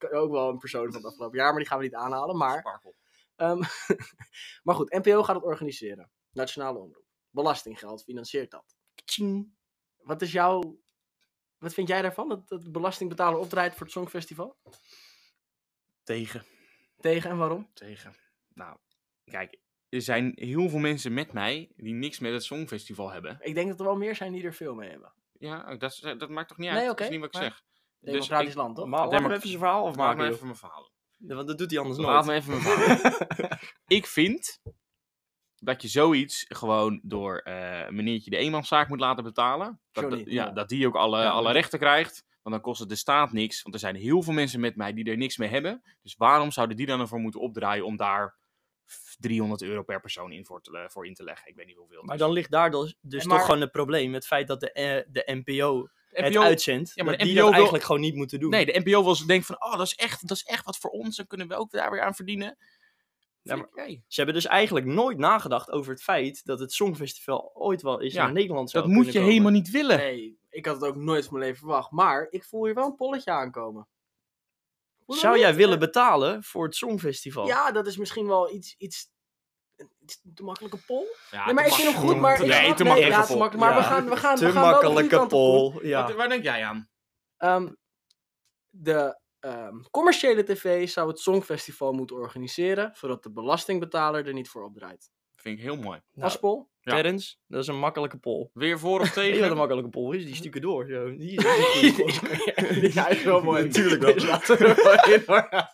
Speaker 1: Ook wel een persoon van het afgelopen jaar, maar die gaan we niet aanhalen. Maar Ehm, maar goed, NPO gaat het organiseren. Nationale omroep. Belastinggeld financiert dat.
Speaker 2: Tjing.
Speaker 1: Wat is jouw. Wat vind jij daarvan? Dat, dat de belastingbetaler opdraait voor het Songfestival?
Speaker 3: Tegen.
Speaker 1: Tegen en waarom?
Speaker 3: Tegen. Nou, kijk. Er zijn heel veel mensen met mij die niks met het Songfestival hebben.
Speaker 1: Ik denk dat er wel meer zijn die er veel mee hebben.
Speaker 3: Ja, dat, is- dat maakt toch niet uit?
Speaker 1: Nee,
Speaker 3: dat
Speaker 1: oké,
Speaker 3: is niet wat ik
Speaker 1: maar-
Speaker 3: zeg.
Speaker 2: Dus
Speaker 1: Democratisch
Speaker 3: ik-
Speaker 1: land, toch?
Speaker 2: Maar laat
Speaker 3: Demo-
Speaker 2: hem even zijn verhaal
Speaker 3: Maak me
Speaker 2: afmaken,
Speaker 3: even mijn verhaal.
Speaker 2: joh. Ja, Want dat doet hij anders
Speaker 3: Laat
Speaker 2: nooit.
Speaker 3: me even mijn verhaal. ik vind dat je zoiets gewoon door eh meneertje de eenmanszaak moet laten betalen. Dat,
Speaker 1: Johnny,
Speaker 3: dat- ja,
Speaker 2: ja.
Speaker 3: dat die ook alle,
Speaker 2: Ja,
Speaker 3: alle
Speaker 2: maar-
Speaker 3: rechten krijgt. Want dan kost het de staat niks. Want er zijn heel veel mensen met mij die er niks mee hebben. Dus waarom zouden die dan ervoor moeten opdraaien om daar 300 euro per persoon in voor, te, le- voor in te leggen? Ik weet niet hoeveel. het
Speaker 2: Maar
Speaker 3: is.
Speaker 2: dan ligt daar dus, dus
Speaker 1: En maar-
Speaker 2: toch gewoon het probleem. Het feit dat de, eh, de NPO het
Speaker 3: NPO
Speaker 2: uitzendt.
Speaker 3: Ja, maar
Speaker 2: dat
Speaker 3: de
Speaker 2: die
Speaker 3: NPO
Speaker 2: dat
Speaker 3: wil-
Speaker 2: eigenlijk gewoon niet moeten doen.
Speaker 3: Nee, de NPO was denkt van, oh, dat is, echt, dat is echt wat voor ons. Dan kunnen we ook daar weer aan verdienen.
Speaker 2: Ja,
Speaker 3: Vind ik, hey,
Speaker 2: Ze hebben dus eigenlijk nooit nagedacht over het feit dat het Songfestival ooit wel eens
Speaker 3: Ja,
Speaker 2: naar Nederland zou
Speaker 3: dat moet je
Speaker 2: kunnen komen.
Speaker 3: helemaal niet willen.
Speaker 1: Nee, ik had het ook nooit van mijn leven verwacht. Maar ik voel hier wel een polletje aankomen. Voel je dat
Speaker 2: Zou jij
Speaker 1: niet?
Speaker 2: willen betalen voor het Songfestival?
Speaker 1: Ja, dat is misschien wel iets... iets iets te makkelijke pol?
Speaker 3: Ja,
Speaker 1: nee, maar ik
Speaker 3: te
Speaker 1: vind hem
Speaker 3: makkelijk.
Speaker 1: goed, maar... ik
Speaker 3: Nee,
Speaker 1: snap-
Speaker 3: te
Speaker 1: nee,
Speaker 3: makkelijk.
Speaker 1: ja, te makkelijk, Maar we
Speaker 2: Ja.
Speaker 1: gaan, we gaan,
Speaker 2: Te
Speaker 1: we gaan wel de goede
Speaker 2: makkelijke
Speaker 1: kant op.
Speaker 2: pol. Ja.
Speaker 3: Wat- Waar denk jij aan?
Speaker 1: Ehm, de ehm, commerciële tv zou het Songfestival moeten organiseren, zodat de belastingbetaler er niet voor opdraait.
Speaker 3: Vind ik heel mooi.
Speaker 2: Nou,
Speaker 1: Aspol?
Speaker 3: Ja.
Speaker 2: Terrence, dat is een makkelijke pol.
Speaker 3: Weer voor
Speaker 2: Weet
Speaker 3: of
Speaker 2: je wat een
Speaker 3: tegen?
Speaker 2: makkelijke pol is? Die stukken door. Zo. Die is een goede pol.
Speaker 1: Ja, is wel mooi.
Speaker 2: Natuurlijk wel.
Speaker 1: Dus laten we er maar in, hoor.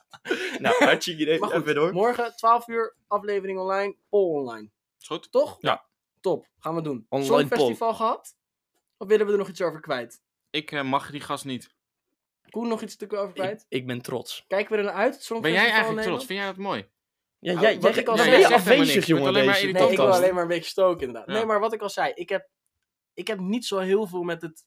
Speaker 2: nou, hartstikke idee.
Speaker 1: Maar
Speaker 2: Even door.
Speaker 1: goed, morgen 12 uur, aflevering online, poll online.
Speaker 3: Is goed.
Speaker 1: Toch?
Speaker 3: Ja.
Speaker 1: Top, gaan we doen.
Speaker 2: Online
Speaker 1: Songfestival gehad? Of willen we er nog iets over kwijt?
Speaker 3: Ik eh, mag die gast niet.
Speaker 1: Koen, nog iets stuk over
Speaker 2: Ik,
Speaker 1: kwijt?
Speaker 2: ik ben trots.
Speaker 1: Kijken we er naar uit? het
Speaker 3: Ben
Speaker 1: Songfestival
Speaker 3: jij eigenlijk
Speaker 1: in Nederland?
Speaker 3: trots? Vind jij dat mooi?
Speaker 2: Ja,
Speaker 1: Oh,
Speaker 2: jij,
Speaker 1: wat
Speaker 2: jij,
Speaker 1: ik al
Speaker 2: jij
Speaker 1: zei,
Speaker 2: bent
Speaker 1: jij zegt
Speaker 2: afwezig,
Speaker 3: helemaal niks. Je
Speaker 2: jongen,
Speaker 3: bent alleen maar
Speaker 2: deze
Speaker 1: Nee, ik wil
Speaker 2: podcast.
Speaker 1: alleen maar een beetje stoken inderdaad.
Speaker 3: Ja.
Speaker 1: Nee, maar wat ik al zei, ik heb, ik heb niet zo heel veel met het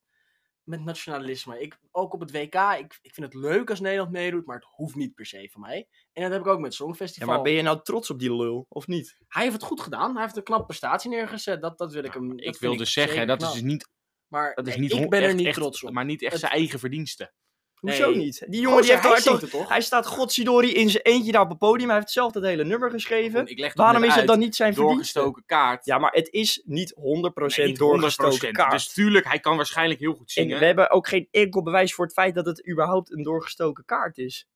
Speaker 1: met nationalisme. Ik, ook op het WK, ik, ik vind het leuk als Nederland meedoet, maar het hoeft niet per se van mij. En dat heb ik ook met het
Speaker 2: Ja,
Speaker 1: Songfestival.
Speaker 2: maar ben je nou trots op die lul, of niet?
Speaker 1: Hij heeft het goed gedaan, hij heeft een knappe prestatie neergezet, dat, dat wil ik hem... dat
Speaker 3: ik
Speaker 1: vind
Speaker 3: wil dus
Speaker 1: zeker
Speaker 3: zeggen, dat
Speaker 1: knap.
Speaker 3: is niet,
Speaker 1: Maar
Speaker 3: dat is
Speaker 1: nee,
Speaker 3: niet
Speaker 1: ik
Speaker 3: hon-
Speaker 1: ben er
Speaker 3: echt-
Speaker 1: niet
Speaker 3: echt-
Speaker 1: trots op.
Speaker 3: Maar niet echt
Speaker 1: Het-
Speaker 3: zijn eigen verdiensten.
Speaker 2: Hoezo
Speaker 1: Nee.
Speaker 2: niet? Die jongen die
Speaker 1: Gozer,
Speaker 2: heeft daar
Speaker 1: hij
Speaker 2: toch...
Speaker 1: zingt het toch?
Speaker 2: Hij staat godsidori in zijn eentje daar op het podium. Hij heeft zelf dat hele nummer geschreven.
Speaker 3: Ik leg
Speaker 2: Waarom is
Speaker 3: het
Speaker 2: het dan niet zijn verdienste?
Speaker 3: doorgestoken kaart?
Speaker 2: Ja, maar het is niet 100%
Speaker 3: Nee, niet 100%.
Speaker 2: doorgestoken kaart.
Speaker 3: Dus tuurlijk, hij kan waarschijnlijk heel goed
Speaker 2: en
Speaker 3: zingen.
Speaker 2: we hebben ook geen enkel bewijs voor het feit dat het überhaupt een doorgestoken kaart is.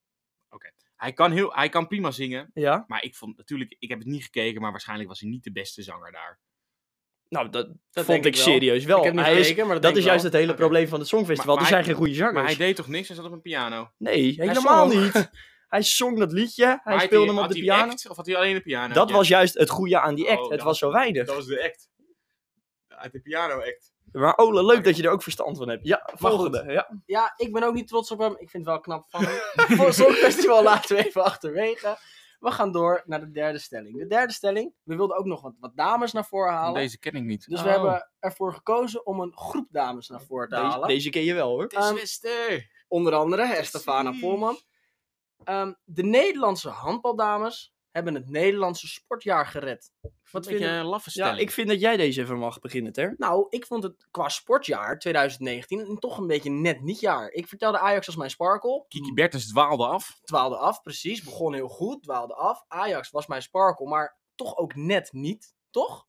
Speaker 3: Hij, kan heel, hij kan prima zingen.
Speaker 2: Ja?
Speaker 3: Maar ik vond natuurlijk, ik heb het niet gekeken, maar waarschijnlijk was hij niet de beste zanger daar.
Speaker 2: Nou, dat,
Speaker 1: denk
Speaker 2: vond ik
Speaker 1: ik wel.
Speaker 2: serieus wel.
Speaker 1: ik heb niet
Speaker 2: Hij is-
Speaker 1: gekeken, maar dat,
Speaker 2: dat
Speaker 1: denk
Speaker 2: is
Speaker 1: ik
Speaker 2: juist
Speaker 1: wel.
Speaker 2: het hele
Speaker 3: Oké.
Speaker 2: probleem van het Songfestival.
Speaker 3: Maar-
Speaker 2: er
Speaker 3: maar
Speaker 2: zijn geen goede zangers.
Speaker 3: Maar hij deed toch niks? Hij zat op een piano.
Speaker 2: Nee, helemaal
Speaker 1: zong.
Speaker 2: niet. Hij zong dat liedje, hij
Speaker 3: Maar had
Speaker 2: speelde hem op
Speaker 3: had
Speaker 2: de
Speaker 3: hij een
Speaker 2: piano.
Speaker 3: act, of had hij alleen een piano?
Speaker 2: Dat
Speaker 3: Ja.
Speaker 2: was juist het goede aan die
Speaker 3: Oh,
Speaker 2: act. het
Speaker 3: dat-
Speaker 2: was zo weinig.
Speaker 3: was de act. Uit de piano act.
Speaker 2: Maar Ole, leuk dat je er ook verstand van hebt. Ja, volgende. Ja.
Speaker 1: Ja, ik ben ook niet trots op hem. Ik vind het wel knap van hem. Voor het Songfestival laten we even achterwege. We gaan door naar de derde stelling. De derde stelling, we wilden ook nog wat, wat dames naar voren halen.
Speaker 3: Deze Oh. ken ik niet.
Speaker 1: Dus we hebben ervoor gekozen om een groep dames naar voren te
Speaker 2: Deze,
Speaker 1: halen.
Speaker 2: deze ken je wel hoor.
Speaker 1: is Ehm,
Speaker 3: Wester.
Speaker 1: Onder andere Estefana
Speaker 3: Precies.
Speaker 1: Polman. Ehm, de Nederlandse handbaldames hebben het Nederlandse sportjaar gered.
Speaker 3: Wat
Speaker 1: Wat
Speaker 3: vind
Speaker 1: vind
Speaker 3: je
Speaker 1: je-
Speaker 3: een laffe
Speaker 2: Ja,
Speaker 3: stelling?
Speaker 2: ik vind dat jij deze even mag beginnen, Ter.
Speaker 1: Nou, ik vond het qua sportjaar 2019 een- toch een beetje net niet jaar. Ik vertelde Ajax als mijn sparkle.
Speaker 3: Kiki Bertens dwaalde af.
Speaker 1: dwaalde af, precies. Begon heel goed, dwaalde af. Ajax was mijn sparkle, maar toch ook net niet, toch?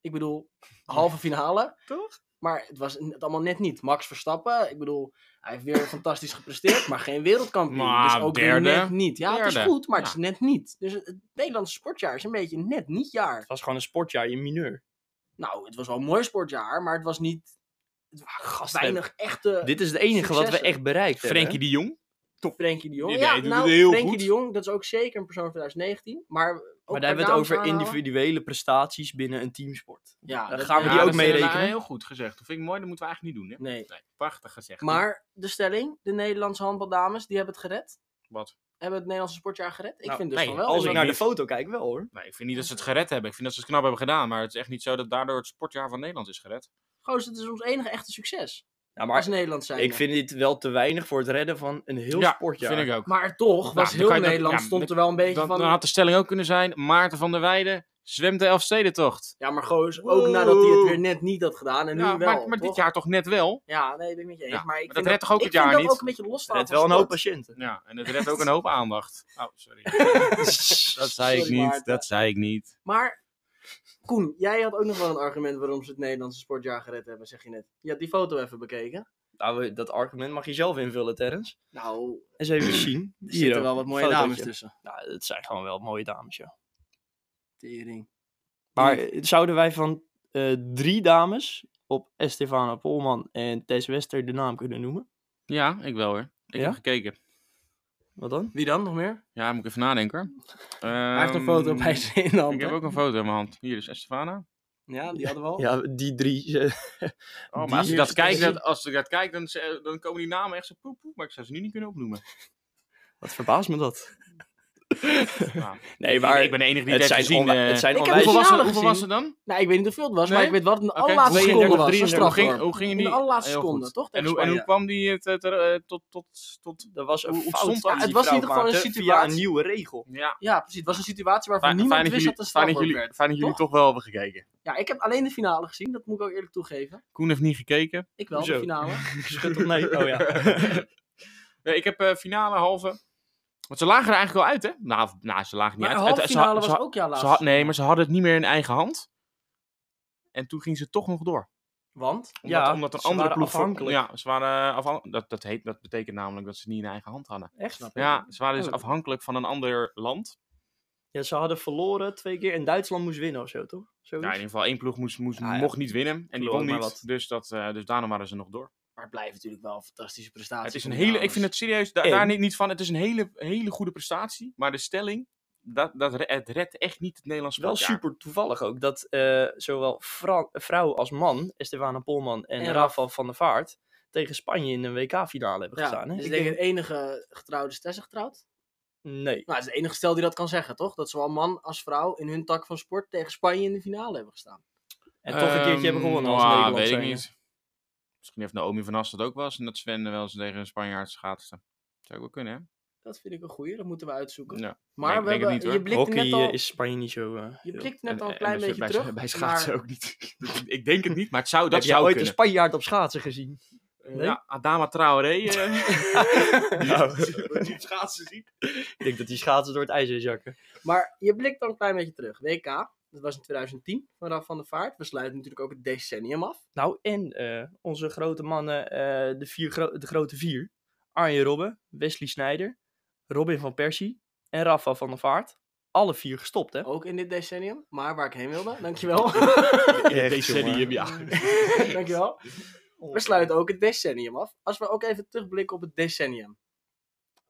Speaker 1: Ik bedoel, halve finale.
Speaker 2: Toch?
Speaker 1: Maar het was het allemaal net niet. Max Verstappen, ik bedoel, hij heeft weer fantastisch gepresteerd, maar geen wereldkampioen.
Speaker 3: Maar
Speaker 1: dus ook
Speaker 3: derde.
Speaker 1: weer net niet. Ja, het is
Speaker 3: Derde.
Speaker 1: goed, maar
Speaker 3: Ja.
Speaker 1: het is net niet. Dus het, het Nederlandse sportjaar is een beetje een net niet jaar.
Speaker 2: Het was gewoon een sportjaar in mineur.
Speaker 1: Nou, het was wel een mooi sportjaar, maar het was niet het was
Speaker 2: Ah, Gast,
Speaker 1: weinig echte...
Speaker 2: Dit is het enige wat we
Speaker 1: Successen.
Speaker 2: echt bereikt hebben.
Speaker 3: Frenkie de Jong.
Speaker 1: Frenkie de Jong.
Speaker 3: Nee,
Speaker 1: ja,
Speaker 3: doet het
Speaker 1: nou,
Speaker 3: heel
Speaker 1: Frenkie
Speaker 3: goed.
Speaker 1: de Jong, dat is ook zeker een persoon van 2019. Maar, ook
Speaker 2: Maar
Speaker 1: een
Speaker 2: daar
Speaker 1: paar
Speaker 2: hebben we het
Speaker 1: dames
Speaker 2: over
Speaker 1: aanhalen.
Speaker 2: individuele prestaties binnen een teamsport.
Speaker 1: Ja,
Speaker 2: Daar
Speaker 1: dat-
Speaker 2: gaan we
Speaker 1: ja,
Speaker 2: die
Speaker 1: dat-
Speaker 2: ook
Speaker 3: is,
Speaker 2: mee
Speaker 3: eh,
Speaker 2: rekenen?
Speaker 3: nou, Heel goed gezegd. Dat vind ik mooi, dat moeten we eigenlijk niet doen. Hè?
Speaker 1: Nee.
Speaker 3: Nee, prachtig gezegd.
Speaker 1: Maar de stelling, de Nederlandse handbaldames, die hebben het gered.
Speaker 3: Wat?
Speaker 1: Hebben het Nederlandse sportjaar gered? Ik
Speaker 2: Nou,
Speaker 1: vind dus
Speaker 3: nee,
Speaker 1: van wel.
Speaker 2: Als
Speaker 3: ik
Speaker 2: ik
Speaker 1: Omdat-
Speaker 2: naar de
Speaker 3: niet.
Speaker 2: foto kijk, wel hoor.
Speaker 3: Nee, ik vind niet dat ze het gered hebben. Ik vind dat ze het knap hebben gedaan. Maar het is echt niet zo dat daardoor het sportjaar van Nederland is gered.
Speaker 1: Goos, het is ons enige echte succes.
Speaker 2: Ja,
Speaker 1: als
Speaker 2: maar
Speaker 1: Nederland zijn.
Speaker 2: ik vind dit wel te weinig voor het redden van een heel
Speaker 3: ja,
Speaker 2: sportjaar.
Speaker 3: vind ik ook.
Speaker 1: Maar toch, was
Speaker 3: Nou, dan
Speaker 1: heel
Speaker 3: kan je dat-
Speaker 1: Nederland,
Speaker 3: ja,
Speaker 1: stond
Speaker 3: dat-
Speaker 1: er wel een beetje
Speaker 3: Dan,
Speaker 1: van...
Speaker 3: dan had de stelling ook kunnen zijn. Maarten van der Weijden zwemt de Elfstedentocht.
Speaker 1: Ja, maar Goos, ook nadat hij het
Speaker 3: Wow.
Speaker 1: weer net niet had gedaan en nu
Speaker 3: Ja,
Speaker 1: wel.
Speaker 3: maar, maar dit
Speaker 1: toch?
Speaker 3: jaar toch net wel.
Speaker 1: Ja, nee, ben ik met je eens.
Speaker 3: Ja,
Speaker 1: maar ik
Speaker 3: maar dat
Speaker 1: vind
Speaker 3: redt toch ook
Speaker 1: ik
Speaker 3: het jaar
Speaker 1: vind dat
Speaker 3: niet?
Speaker 1: ook een beetje losstaan
Speaker 2: Het
Speaker 1: van
Speaker 2: wel een hoop
Speaker 1: sport.
Speaker 2: patiënten.
Speaker 3: Ja, en het redt ook een hoop aandacht. Oh, sorry. Dat zei ik
Speaker 1: Sorry,
Speaker 3: niet.
Speaker 1: Maarten.
Speaker 3: Dat zei ik niet.
Speaker 1: Maar, Koen, jij had ook nog wel een argument waarom ze het Nederlandse sportjaar gered hebben, zeg je net. Je had die foto even bekeken.
Speaker 2: Nou, we- dat argument mag je zelf invullen, Terrence.
Speaker 1: Nou,
Speaker 2: Eens even zien.
Speaker 1: er
Speaker 2: Hier
Speaker 1: zitten
Speaker 2: ook,
Speaker 1: wel wat mooie
Speaker 2: fotootje.
Speaker 1: dames tussen.
Speaker 2: Nou, het zijn gewoon wel mooie dames, ja.
Speaker 1: Tering.
Speaker 2: Maar eh, zouden wij van eh, drie dames op Estefana Polman en Tess Wester de naam kunnen noemen?
Speaker 3: Ja, ik wel hoor. Ik
Speaker 2: Ja?
Speaker 3: heb gekeken.
Speaker 2: Wat dan?
Speaker 1: Wie dan nog meer?
Speaker 3: Ja, moet ik even nadenken.
Speaker 1: Hij heeft een foto bij
Speaker 3: zich.
Speaker 1: zijn in de hand.
Speaker 3: Ehm, Ik heb
Speaker 1: hè?
Speaker 3: ook een foto in mijn hand. Hier is Estefana.
Speaker 1: Ja, die hadden we al.
Speaker 2: Ja, die drie. eh,
Speaker 3: Oh,
Speaker 2: Die
Speaker 3: maar als ik,
Speaker 2: is
Speaker 3: dat kijk,
Speaker 2: Estefana.
Speaker 3: dat, als ik dat kijk, dan, z- dan komen die namen echt zo poep, poep, Maar ik zou ze nu niet kunnen opnoemen.
Speaker 2: Wat verbaast me dat?
Speaker 3: Nou,
Speaker 2: Nee, maar
Speaker 3: ik ben de enige die het
Speaker 2: het,
Speaker 3: heeft
Speaker 2: zijn
Speaker 3: gezien.
Speaker 2: onwij-
Speaker 3: eh.
Speaker 2: het zijn
Speaker 1: Ik heb
Speaker 2: onwijs...
Speaker 3: hoeveel was, er,
Speaker 1: finale
Speaker 3: hoeveel
Speaker 1: gezien.
Speaker 3: was er dan?
Speaker 1: Nou, ik weet niet hoeveel het was, maar
Speaker 3: Nee?
Speaker 1: ik weet wat de
Speaker 3: Oké.
Speaker 1: allerlaatste seconde
Speaker 2: 32,
Speaker 1: was. Een
Speaker 2: 33,
Speaker 3: Hoe ging,
Speaker 1: strafworp.
Speaker 3: hoe gingen
Speaker 1: In
Speaker 3: die?
Speaker 1: de allerlaatste
Speaker 3: Heel goed.
Speaker 1: seconde, toch?
Speaker 3: En
Speaker 1: Tegen
Speaker 3: hoe, en hoe
Speaker 1: Spanje.
Speaker 3: kwam die eh, te- te- eh, tot, tot, tot...
Speaker 2: Er was een
Speaker 3: Hoe- hoe
Speaker 2: fout
Speaker 3: stond dat?
Speaker 2: die
Speaker 3: Ja, het
Speaker 1: was in
Speaker 2: vrouw
Speaker 1: ieder geval een
Speaker 2: maakte via
Speaker 1: situatie-
Speaker 2: een nieuwe regel.
Speaker 3: Ja,
Speaker 1: Ja, precies. Het was een situatie waarvan
Speaker 3: fijn,
Speaker 1: niemand
Speaker 3: fijn dat
Speaker 1: wist
Speaker 3: jullie,
Speaker 1: dat het een
Speaker 3: fijn dat
Speaker 1: strafworp
Speaker 3: jullie,
Speaker 1: werd.
Speaker 3: fijn dat jullie
Speaker 1: toch?
Speaker 3: toch wel hebben gekeken.
Speaker 1: Ja, ik heb alleen de finale gezien. Dat moet ik ook eerlijk toegeven.
Speaker 3: Koen heeft niet gekeken.
Speaker 1: Ik wel, de
Speaker 2: Hoezo?
Speaker 1: finale.
Speaker 2: Schud op nee. Oh ja.
Speaker 3: nee, ik heb eh, finale, halve. Want ze lagen er eigenlijk wel uit, hè? Nou, of- nou ze lagen niet
Speaker 1: Maar de
Speaker 3: uit. Het-
Speaker 1: halve
Speaker 3: het- ze
Speaker 1: finale
Speaker 3: had- ze
Speaker 1: was
Speaker 3: had-
Speaker 1: ook jouw
Speaker 3: ze
Speaker 1: laatste.
Speaker 3: had, Nee, maar ze hadden het niet meer in eigen hand. En toen ging ze toch nog door.
Speaker 1: Want?
Speaker 3: Omdat,
Speaker 2: Ja,
Speaker 3: omdat een
Speaker 2: ze
Speaker 3: andere
Speaker 2: waren
Speaker 3: ploeg voor-
Speaker 2: afhankelijk.
Speaker 3: Ja, ze waren eh, afhan- Dat, dat, heet, dat betekent namelijk dat ze het niet in eigen hand hadden.
Speaker 2: Echt?
Speaker 3: Ja, ze waren dus
Speaker 1: Oh.
Speaker 3: afhankelijk van een ander land.
Speaker 2: Ja, ze hadden verloren twee keer en Duitsland moest winnen of zo, toch?
Speaker 3: Ja, in
Speaker 2: Zoiets?
Speaker 3: ieder geval één ploeg moest, moest,
Speaker 2: Ah, ja.
Speaker 3: mocht niet winnen. En die
Speaker 2: Verloren
Speaker 3: won
Speaker 2: maar
Speaker 3: niet.
Speaker 2: wat.
Speaker 3: Dus, dat, eh, dus daarom waren ze nog door.
Speaker 1: Maar het blijft natuurlijk wel een fantastische prestatie.
Speaker 3: Het is
Speaker 1: van
Speaker 3: een
Speaker 1: de
Speaker 3: hele, ik
Speaker 1: dames.
Speaker 3: vind het serieus, da-
Speaker 2: En-
Speaker 3: daar niet, niet van. Het is een hele, hele goede prestatie. Maar de stelling, dat, dat, re- het redt echt niet het Nederlands
Speaker 2: Wel
Speaker 3: sportjaar.
Speaker 2: super toevallig ook dat eh, zowel vrou- vrouw als man, Estefana Polman en,
Speaker 1: En
Speaker 2: Rafael van der Vaart, tegen Spanje in een WK-finale hebben gestaan.
Speaker 1: dus
Speaker 2: Hè? Ik
Speaker 1: ik denk
Speaker 2: denk-
Speaker 1: het enige getrouwde is Tessa getrouwd.
Speaker 2: Nee.
Speaker 1: Nou, het is de enige stel die dat kan zeggen, toch? Dat zowel man als vrouw in hun tak van sport tegen Spanje in de finale hebben gestaan.
Speaker 2: En toch een keertje hebben gewonnen als
Speaker 3: Ehm, nou,
Speaker 2: Nederland.
Speaker 3: weet ik
Speaker 2: zijnde.
Speaker 3: niet. Misschien heeft Naomi van As dat ook wel eens. En dat Sven wel eens tegen een Spanjaard schaatste. Zou ook wel kunnen, hè?
Speaker 1: Dat vind ik een goeie, dat moeten we uitzoeken.
Speaker 3: Ja.
Speaker 1: Maar
Speaker 3: ik
Speaker 1: we
Speaker 3: denk het
Speaker 1: hebben,
Speaker 3: niet, hoor.
Speaker 1: je blikt
Speaker 2: Hockey
Speaker 1: net
Speaker 2: eh,
Speaker 1: al,
Speaker 2: is Spanje niet zo... eh,
Speaker 1: je
Speaker 2: heel-
Speaker 1: blikt net al
Speaker 3: En-
Speaker 1: een klein
Speaker 3: en bij-
Speaker 1: beetje
Speaker 3: bij,
Speaker 1: terug.
Speaker 3: Bij schaatsen
Speaker 1: maar-
Speaker 3: ook niet. ik denk het niet, maar het zou, dat
Speaker 2: Heb jij
Speaker 3: zou
Speaker 2: ooit
Speaker 3: kunnen.
Speaker 2: een Spanjaard op schaatsen gezien?
Speaker 3: Eh,
Speaker 2: Nee?
Speaker 3: Ja, Adama Traoré. eh.
Speaker 2: Nou.
Speaker 3: Wat je op schaatsen ziet.
Speaker 2: Ik denk dat die schaatsen door het ijs heen zakken.
Speaker 1: Maar je blikt dan een klein beetje terug. WK, dat was in 2010 van Rafa van der Vaart. We sluiten natuurlijk ook het decennium af.
Speaker 2: Nou, en eh, onze grote mannen, eh, de, vier gro- de grote vier. Arjen Robben, Wesley Sneijder, Robin van Persie en Rafa van der Vaart. Alle vier gestopt, hè?
Speaker 1: Ook in dit decennium. Maar waar ik heen wilde, dankjewel.
Speaker 2: Echt, eh, Oh.
Speaker 3: Decennium, ja.
Speaker 1: dankjewel. We sluiten ook het decennium af. Als we ook even terugblikken op het decennium.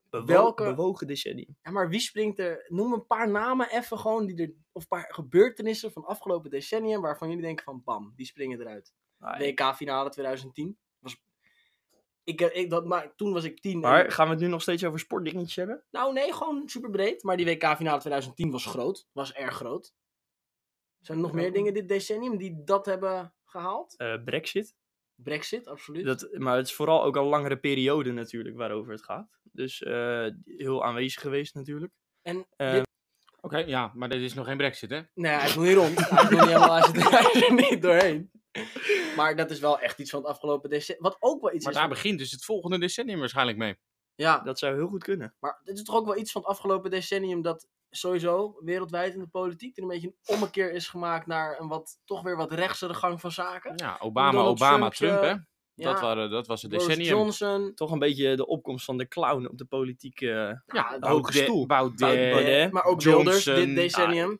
Speaker 2: Bewo-
Speaker 1: welke-
Speaker 2: Bewogen decennium.
Speaker 1: Ja, maar wie springt er? Noem een paar namen even gewoon. Die er, of een paar gebeurtenissen van afgelopen decennium. waarvan jullie denken van bam, die springen eruit.
Speaker 3: Ah,
Speaker 2: Nou,
Speaker 1: WK-finale 2010. Was, ik, eh, ik, dat, maar toen was ik tien. en-
Speaker 2: Maar gaan we het nu nog steeds over sportdingetjes hebben?
Speaker 1: Nou, nee, gewoon super breed. Maar die WK-finale 2010 was groot. Was erg groot. Zijn er nog meer dingen dit decennium die dat hebben gehaald?
Speaker 2: Eh, Brexit.
Speaker 1: Brexit, absoluut.
Speaker 2: Dat, maar het is vooral ook al een langere periode natuurlijk waarover het gaat. Dus eh, heel aanwezig geweest natuurlijk.
Speaker 1: En
Speaker 2: Eh,
Speaker 1: dit-
Speaker 3: Oké, ja, maar dit is nog geen brexit, hè?
Speaker 1: Nee, hij is nog niet rond. Hij is nog niet helemaal, hij zit- hij is er niet doorheen. Maar dat is wel echt iets van het afgelopen decennium. Wat ook wel iets
Speaker 3: Maar
Speaker 1: is...
Speaker 3: daar begint dus het volgende decennium waarschijnlijk mee.
Speaker 1: Ja,
Speaker 2: Dat zou heel goed kunnen.
Speaker 1: maar dit is toch ook wel iets van het afgelopen decennium dat sowieso wereldwijd in de politiek er een beetje een ommekeer is gemaakt naar een wat, toch weer wat rechtsere gang van zaken.
Speaker 3: Ja, Obama,
Speaker 1: Donald eh,
Speaker 3: Obama,
Speaker 1: Trumpje,
Speaker 3: Trump, hè?
Speaker 1: Ja,
Speaker 3: Dat, waren, dat was het
Speaker 1: Boris
Speaker 3: decennium.
Speaker 1: Johnson.
Speaker 2: Toch een beetje de opkomst van de clown op de politiek. eh,
Speaker 1: Ja,
Speaker 2: de hoge
Speaker 3: Baudet-
Speaker 2: stoel.
Speaker 3: Baudet,
Speaker 2: Baudet,
Speaker 1: Eh, maar ook
Speaker 3: Johnson,
Speaker 1: Wilders dit
Speaker 3: ah,
Speaker 1: decennium.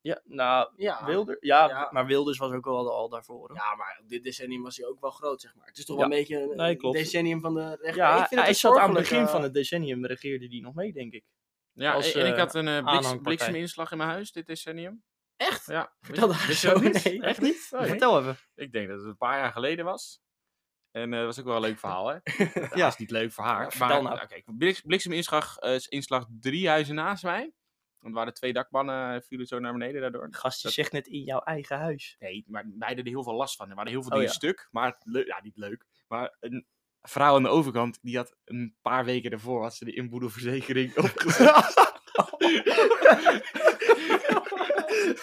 Speaker 2: ja, nou,
Speaker 1: Ja.
Speaker 2: Wilder? Ja,
Speaker 1: Ja.
Speaker 2: maar Wilders was ook al, al daarvoor. hè?
Speaker 1: ja, maar op dit decennium was hij ook wel groot, zeg maar. Het is toch
Speaker 2: Ja.
Speaker 1: wel een beetje een
Speaker 2: Nee,
Speaker 1: een
Speaker 2: klopt.
Speaker 1: decennium van de rechter.
Speaker 2: Ja,
Speaker 1: ik vind
Speaker 2: hij
Speaker 1: het
Speaker 2: zat aan het begin van het decennium, regeerde die nog mee, denk ik.
Speaker 3: Ja,
Speaker 2: als,
Speaker 3: en ik
Speaker 2: eh,
Speaker 3: had een eh, bliks-
Speaker 2: aanhangpartij.
Speaker 3: blikseminslag in mijn huis dit decennium.
Speaker 1: Echt?
Speaker 3: Ja.
Speaker 1: Vertel daar
Speaker 3: Wist je
Speaker 1: zo
Speaker 3: dat niet?
Speaker 1: nee.
Speaker 2: Echt niet?
Speaker 3: Nee.
Speaker 2: Vertel even.
Speaker 3: Ik denk dat het een paar jaar geleden was. En eh, dat was ook wel een leuk verhaal, hè? ja.
Speaker 2: Ja.
Speaker 3: Dat is niet leuk voor haar.
Speaker 2: Ja, vertel
Speaker 3: maar
Speaker 2: nou.
Speaker 3: oké, bliks- blikseminslag eh, inslag drie huizen naast mij. Want er waren twee dakpannen, eh, vielen zo naar beneden daardoor.
Speaker 2: Gast, je
Speaker 3: Dat-
Speaker 2: zegt net in jouw eigen huis.
Speaker 3: Nee, maar wij hadden er heel veel last van. Er waren heel veel
Speaker 2: Oh,
Speaker 3: dingen
Speaker 2: ja.
Speaker 3: stuk, maar le- ja, niet leuk. Maar een vrouw aan de overkant, die had een paar weken daarvoor had ze de inboedelverzekering opgezet.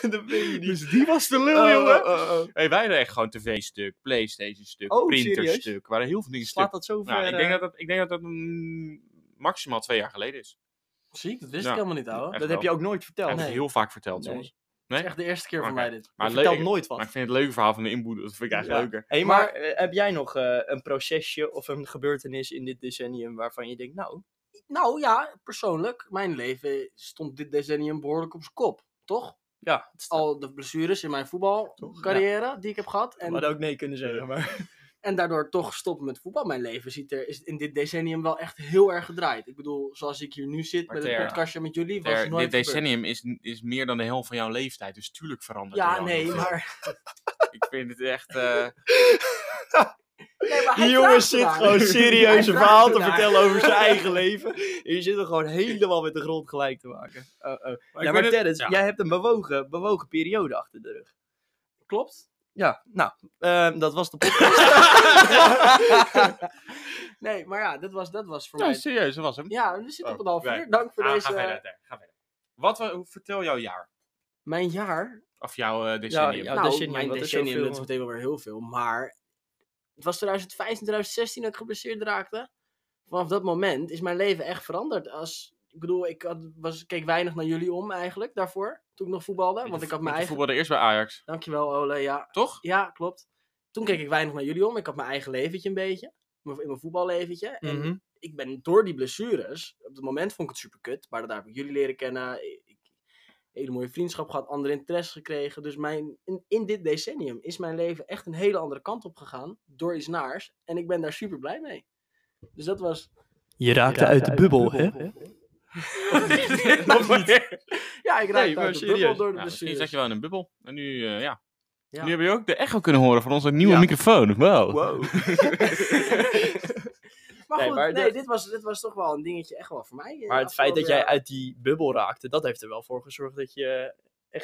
Speaker 2: dat ben je
Speaker 3: dus die was de
Speaker 2: Oh,
Speaker 3: lul, jongen. oh, Hey, wij hadden echt gewoon tv-stuk, Playstation-stuk,
Speaker 2: Oh, serieus?
Speaker 3: printer-stuk. Er waren heel veel dingen
Speaker 2: Slaat
Speaker 3: stuk.
Speaker 2: dat zo ver?
Speaker 3: Nou, ik, denk
Speaker 2: eh,
Speaker 3: dat dat, ik denk dat dat mm, maximaal twee jaar geleden is.
Speaker 1: Ziek, dat wist
Speaker 3: Ja.
Speaker 1: ik helemaal niet, ouwe.
Speaker 3: Echt
Speaker 2: dat
Speaker 3: wel.
Speaker 2: heb je ook nooit
Speaker 3: Ik
Speaker 2: verteld.
Speaker 3: heb het heel vaak verteld
Speaker 2: Nee.
Speaker 3: soms.
Speaker 1: Dat is echt de eerste keer voor
Speaker 3: Oké.
Speaker 1: mij dit.
Speaker 2: Maar
Speaker 3: Maar,
Speaker 2: je
Speaker 3: leuk,
Speaker 2: vertelt nooit wat.
Speaker 3: maar ik vind het leuke verhaal van de inboedel, dat vind ik eigenlijk
Speaker 2: Ja.
Speaker 3: leuker.
Speaker 2: Hey, maar, eh, heb jij nog eh, een procesje of een gebeurtenis in dit decennium waarvan je denkt, nou,
Speaker 1: Nou ja, persoonlijk, mijn leven stond dit decennium behoorlijk op zijn kop, toch?
Speaker 2: ja, het is
Speaker 1: Al de blessures in mijn voetbalcarrière die ik heb gehad.
Speaker 2: we
Speaker 1: En
Speaker 2: hadden ook nee kunnen zeggen, maar
Speaker 1: En daardoor toch stoppen met voetbal. Mijn leven ziet er, is in dit decennium wel echt heel erg gedraaid. Ik bedoel, zoals ik hier nu zit
Speaker 3: Maar
Speaker 1: met het
Speaker 3: ter-
Speaker 1: podcastje met jullie, was het
Speaker 3: Er,
Speaker 1: nooit
Speaker 3: dit
Speaker 1: gebeurd.
Speaker 3: decennium is, is meer dan de helft van jouw leeftijd. Dus tuurlijk verandert er
Speaker 1: Ja,
Speaker 3: wel
Speaker 1: nee,
Speaker 3: heel veel.
Speaker 1: maar...
Speaker 3: Ik vind het echt... eh,
Speaker 1: Nee, maar hij
Speaker 2: Die jongen
Speaker 1: vraagt
Speaker 2: zit
Speaker 1: ernaar.
Speaker 2: gewoon
Speaker 1: Hij
Speaker 2: serieuze
Speaker 1: vraagt
Speaker 2: verhaal te
Speaker 1: ernaar.
Speaker 2: vertellen over zijn eigen leven. En je zit er gewoon helemaal met de grond gelijk te maken. Oh, oh.
Speaker 3: ik
Speaker 2: ja, maar
Speaker 3: weet het-
Speaker 2: Dennis,
Speaker 3: ja.
Speaker 2: jij hebt een bewogen, bewogen periode achter de rug.
Speaker 1: Klopt.
Speaker 2: Ja, nou, ehm, dat was de podcast.
Speaker 1: Nee, maar ja, dat was, dat was voor
Speaker 3: nee,
Speaker 1: mij...
Speaker 3: serieus, dat was hem.
Speaker 1: Ja, we zitten op
Speaker 3: Oh,
Speaker 1: een half
Speaker 3: nee.
Speaker 1: uur. Dank voor
Speaker 3: Ah,
Speaker 1: deze...
Speaker 3: Ga verder, Ter, ga verder. Wat, wa- hoe- vertel jouw jaar.
Speaker 1: Mijn jaar
Speaker 3: Of jouw eh, decennium.
Speaker 2: ja.
Speaker 1: nou,
Speaker 2: decennium,
Speaker 1: mijn
Speaker 2: dat is
Speaker 1: decennium,
Speaker 2: zoveel.
Speaker 1: dat is meteen wel weer heel veel. Maar het was 2015, 2016 dat ik geblesseerd raakte. Vanaf dat moment is mijn leven echt veranderd. Als, ik bedoel, ik had, was, keek weinig naar jullie om eigenlijk daarvoor. Toen ik nog voetbalde. Want ik had mijn
Speaker 3: Je
Speaker 1: eigen...
Speaker 3: voetbalde eerst bij Ajax,
Speaker 1: Dankjewel Ole, ja.
Speaker 3: toch?
Speaker 1: Ja, klopt. Toen keek ik weinig naar jullie om. Ik had mijn eigen leventje een beetje. Mijn- In mijn voetballeventje. En
Speaker 2: Mhm.
Speaker 1: ik ben door die blessures, op het moment vond ik het super kut, maar daar heb ik jullie leren kennen. Ik, ik- hele mooie vriendschap gehad, andere interesse gekregen. Dus mijn, in, in dit decennium is mijn leven echt een hele andere kant op gegaan door iets naars. En ik ben daar super blij mee. Dus dat was.
Speaker 2: Je raakte uit de bubbel, hè?
Speaker 3: Nog
Speaker 1: Ja, ik raakte
Speaker 2: Nee, maar
Speaker 1: uit de bubbel
Speaker 2: serieus.
Speaker 1: door de
Speaker 3: Ja, misschien
Speaker 1: blessures.
Speaker 3: zat je wel in een bubbel. En nu, eh, ja.
Speaker 1: Ja.
Speaker 3: Nu heb je ook de echo kunnen horen van onze nieuwe
Speaker 2: Ja.
Speaker 3: microfoon. Wow.
Speaker 2: Wow.
Speaker 1: Maar
Speaker 2: Nee,
Speaker 1: goed,
Speaker 2: maar
Speaker 1: nee,
Speaker 2: dat-
Speaker 1: dit, was, dit was toch wel een dingetje echt wel voor mij. eh,
Speaker 2: Maar het feit dat
Speaker 1: afgelopen
Speaker 2: jij
Speaker 1: jaar.
Speaker 2: uit die bubbel raakte, dat heeft er wel voor gezorgd dat je...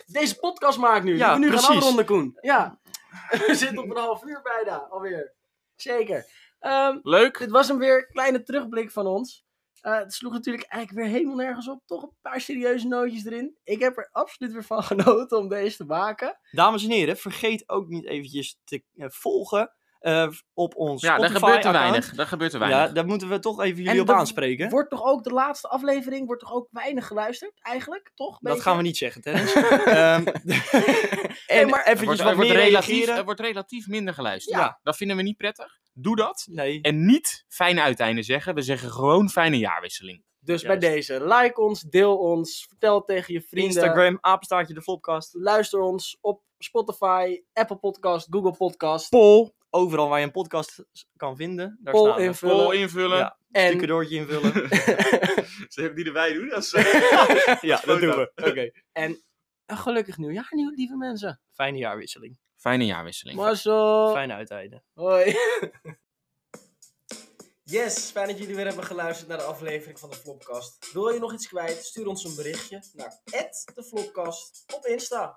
Speaker 1: Deze podcast maakt nu.
Speaker 2: Ja,
Speaker 1: Ja, we nu gaan
Speaker 2: precies.
Speaker 1: afronden, Koen. Ja. We zitten op een half uur bijna alweer. Zeker. Ehm,
Speaker 3: Leuk.
Speaker 1: Dit was hem weer. Kleine terugblik van ons. Eh, het sloeg natuurlijk eigenlijk weer helemaal nergens op. Toch een paar serieuze nootjes erin. Ik heb er absoluut weer van genoten om deze te maken.
Speaker 2: Dames en heren, vergeet ook niet eventjes te eh, volgen eh, op ons
Speaker 3: Ja, daar
Speaker 2: Spotify
Speaker 3: gebeurt er
Speaker 2: account.
Speaker 3: weinig. Daar gebeurt er
Speaker 2: Ja,
Speaker 3: weinig.
Speaker 2: daar moeten we toch even
Speaker 1: En
Speaker 2: jullie op
Speaker 1: dat
Speaker 2: aanspreken.
Speaker 1: Wordt toch ook de laatste aflevering, wordt toch ook weinig geluisterd eigenlijk? Toch?
Speaker 2: Dat gaan we niet zeggen, Dennis. Ehm, en
Speaker 1: maar-
Speaker 3: Er wordt,
Speaker 2: eventjes
Speaker 3: er
Speaker 2: wat
Speaker 3: wordt
Speaker 2: meer
Speaker 3: relatief, er
Speaker 2: reageren.
Speaker 3: wordt relatief minder geluisterd.
Speaker 2: Ja.
Speaker 3: Dat vinden we niet prettig. Doe dat.
Speaker 2: Nee.
Speaker 3: En niet fijne uiteinde zeggen. We zeggen gewoon fijne jaarwisseling.
Speaker 1: Dus
Speaker 2: Juist.
Speaker 1: bij deze, like ons, deel ons, vertel tegen je vrienden.
Speaker 2: Instagram, apenstaartje de Flopcast.
Speaker 1: Luister ons op Spotify, Apple Podcast, Google Podcast.
Speaker 2: Poll. Overal waar je een podcast s- kan vinden. Daar
Speaker 1: Poll
Speaker 2: staan we.
Speaker 1: invullen.
Speaker 3: Vol invullen.
Speaker 2: Ja.
Speaker 1: en
Speaker 2: Een cadeautje invullen.
Speaker 3: Ze hebben die erbij doen. Dat is,
Speaker 2: ja, dat doen we. Oké.
Speaker 1: een gelukkig nieuwjaar, nieuw, lieve mensen.
Speaker 2: Fijne jaarwisseling.
Speaker 3: Fijne jaarwisseling.
Speaker 1: Mazzel.
Speaker 2: Fijne uiteinden.
Speaker 1: Hoi. Yes, fijn dat jullie weer hebben geluisterd naar de aflevering van de Flopcast. Wil je nog iets kwijt? Stuur ons een berichtje naar @deflopcast op Insta.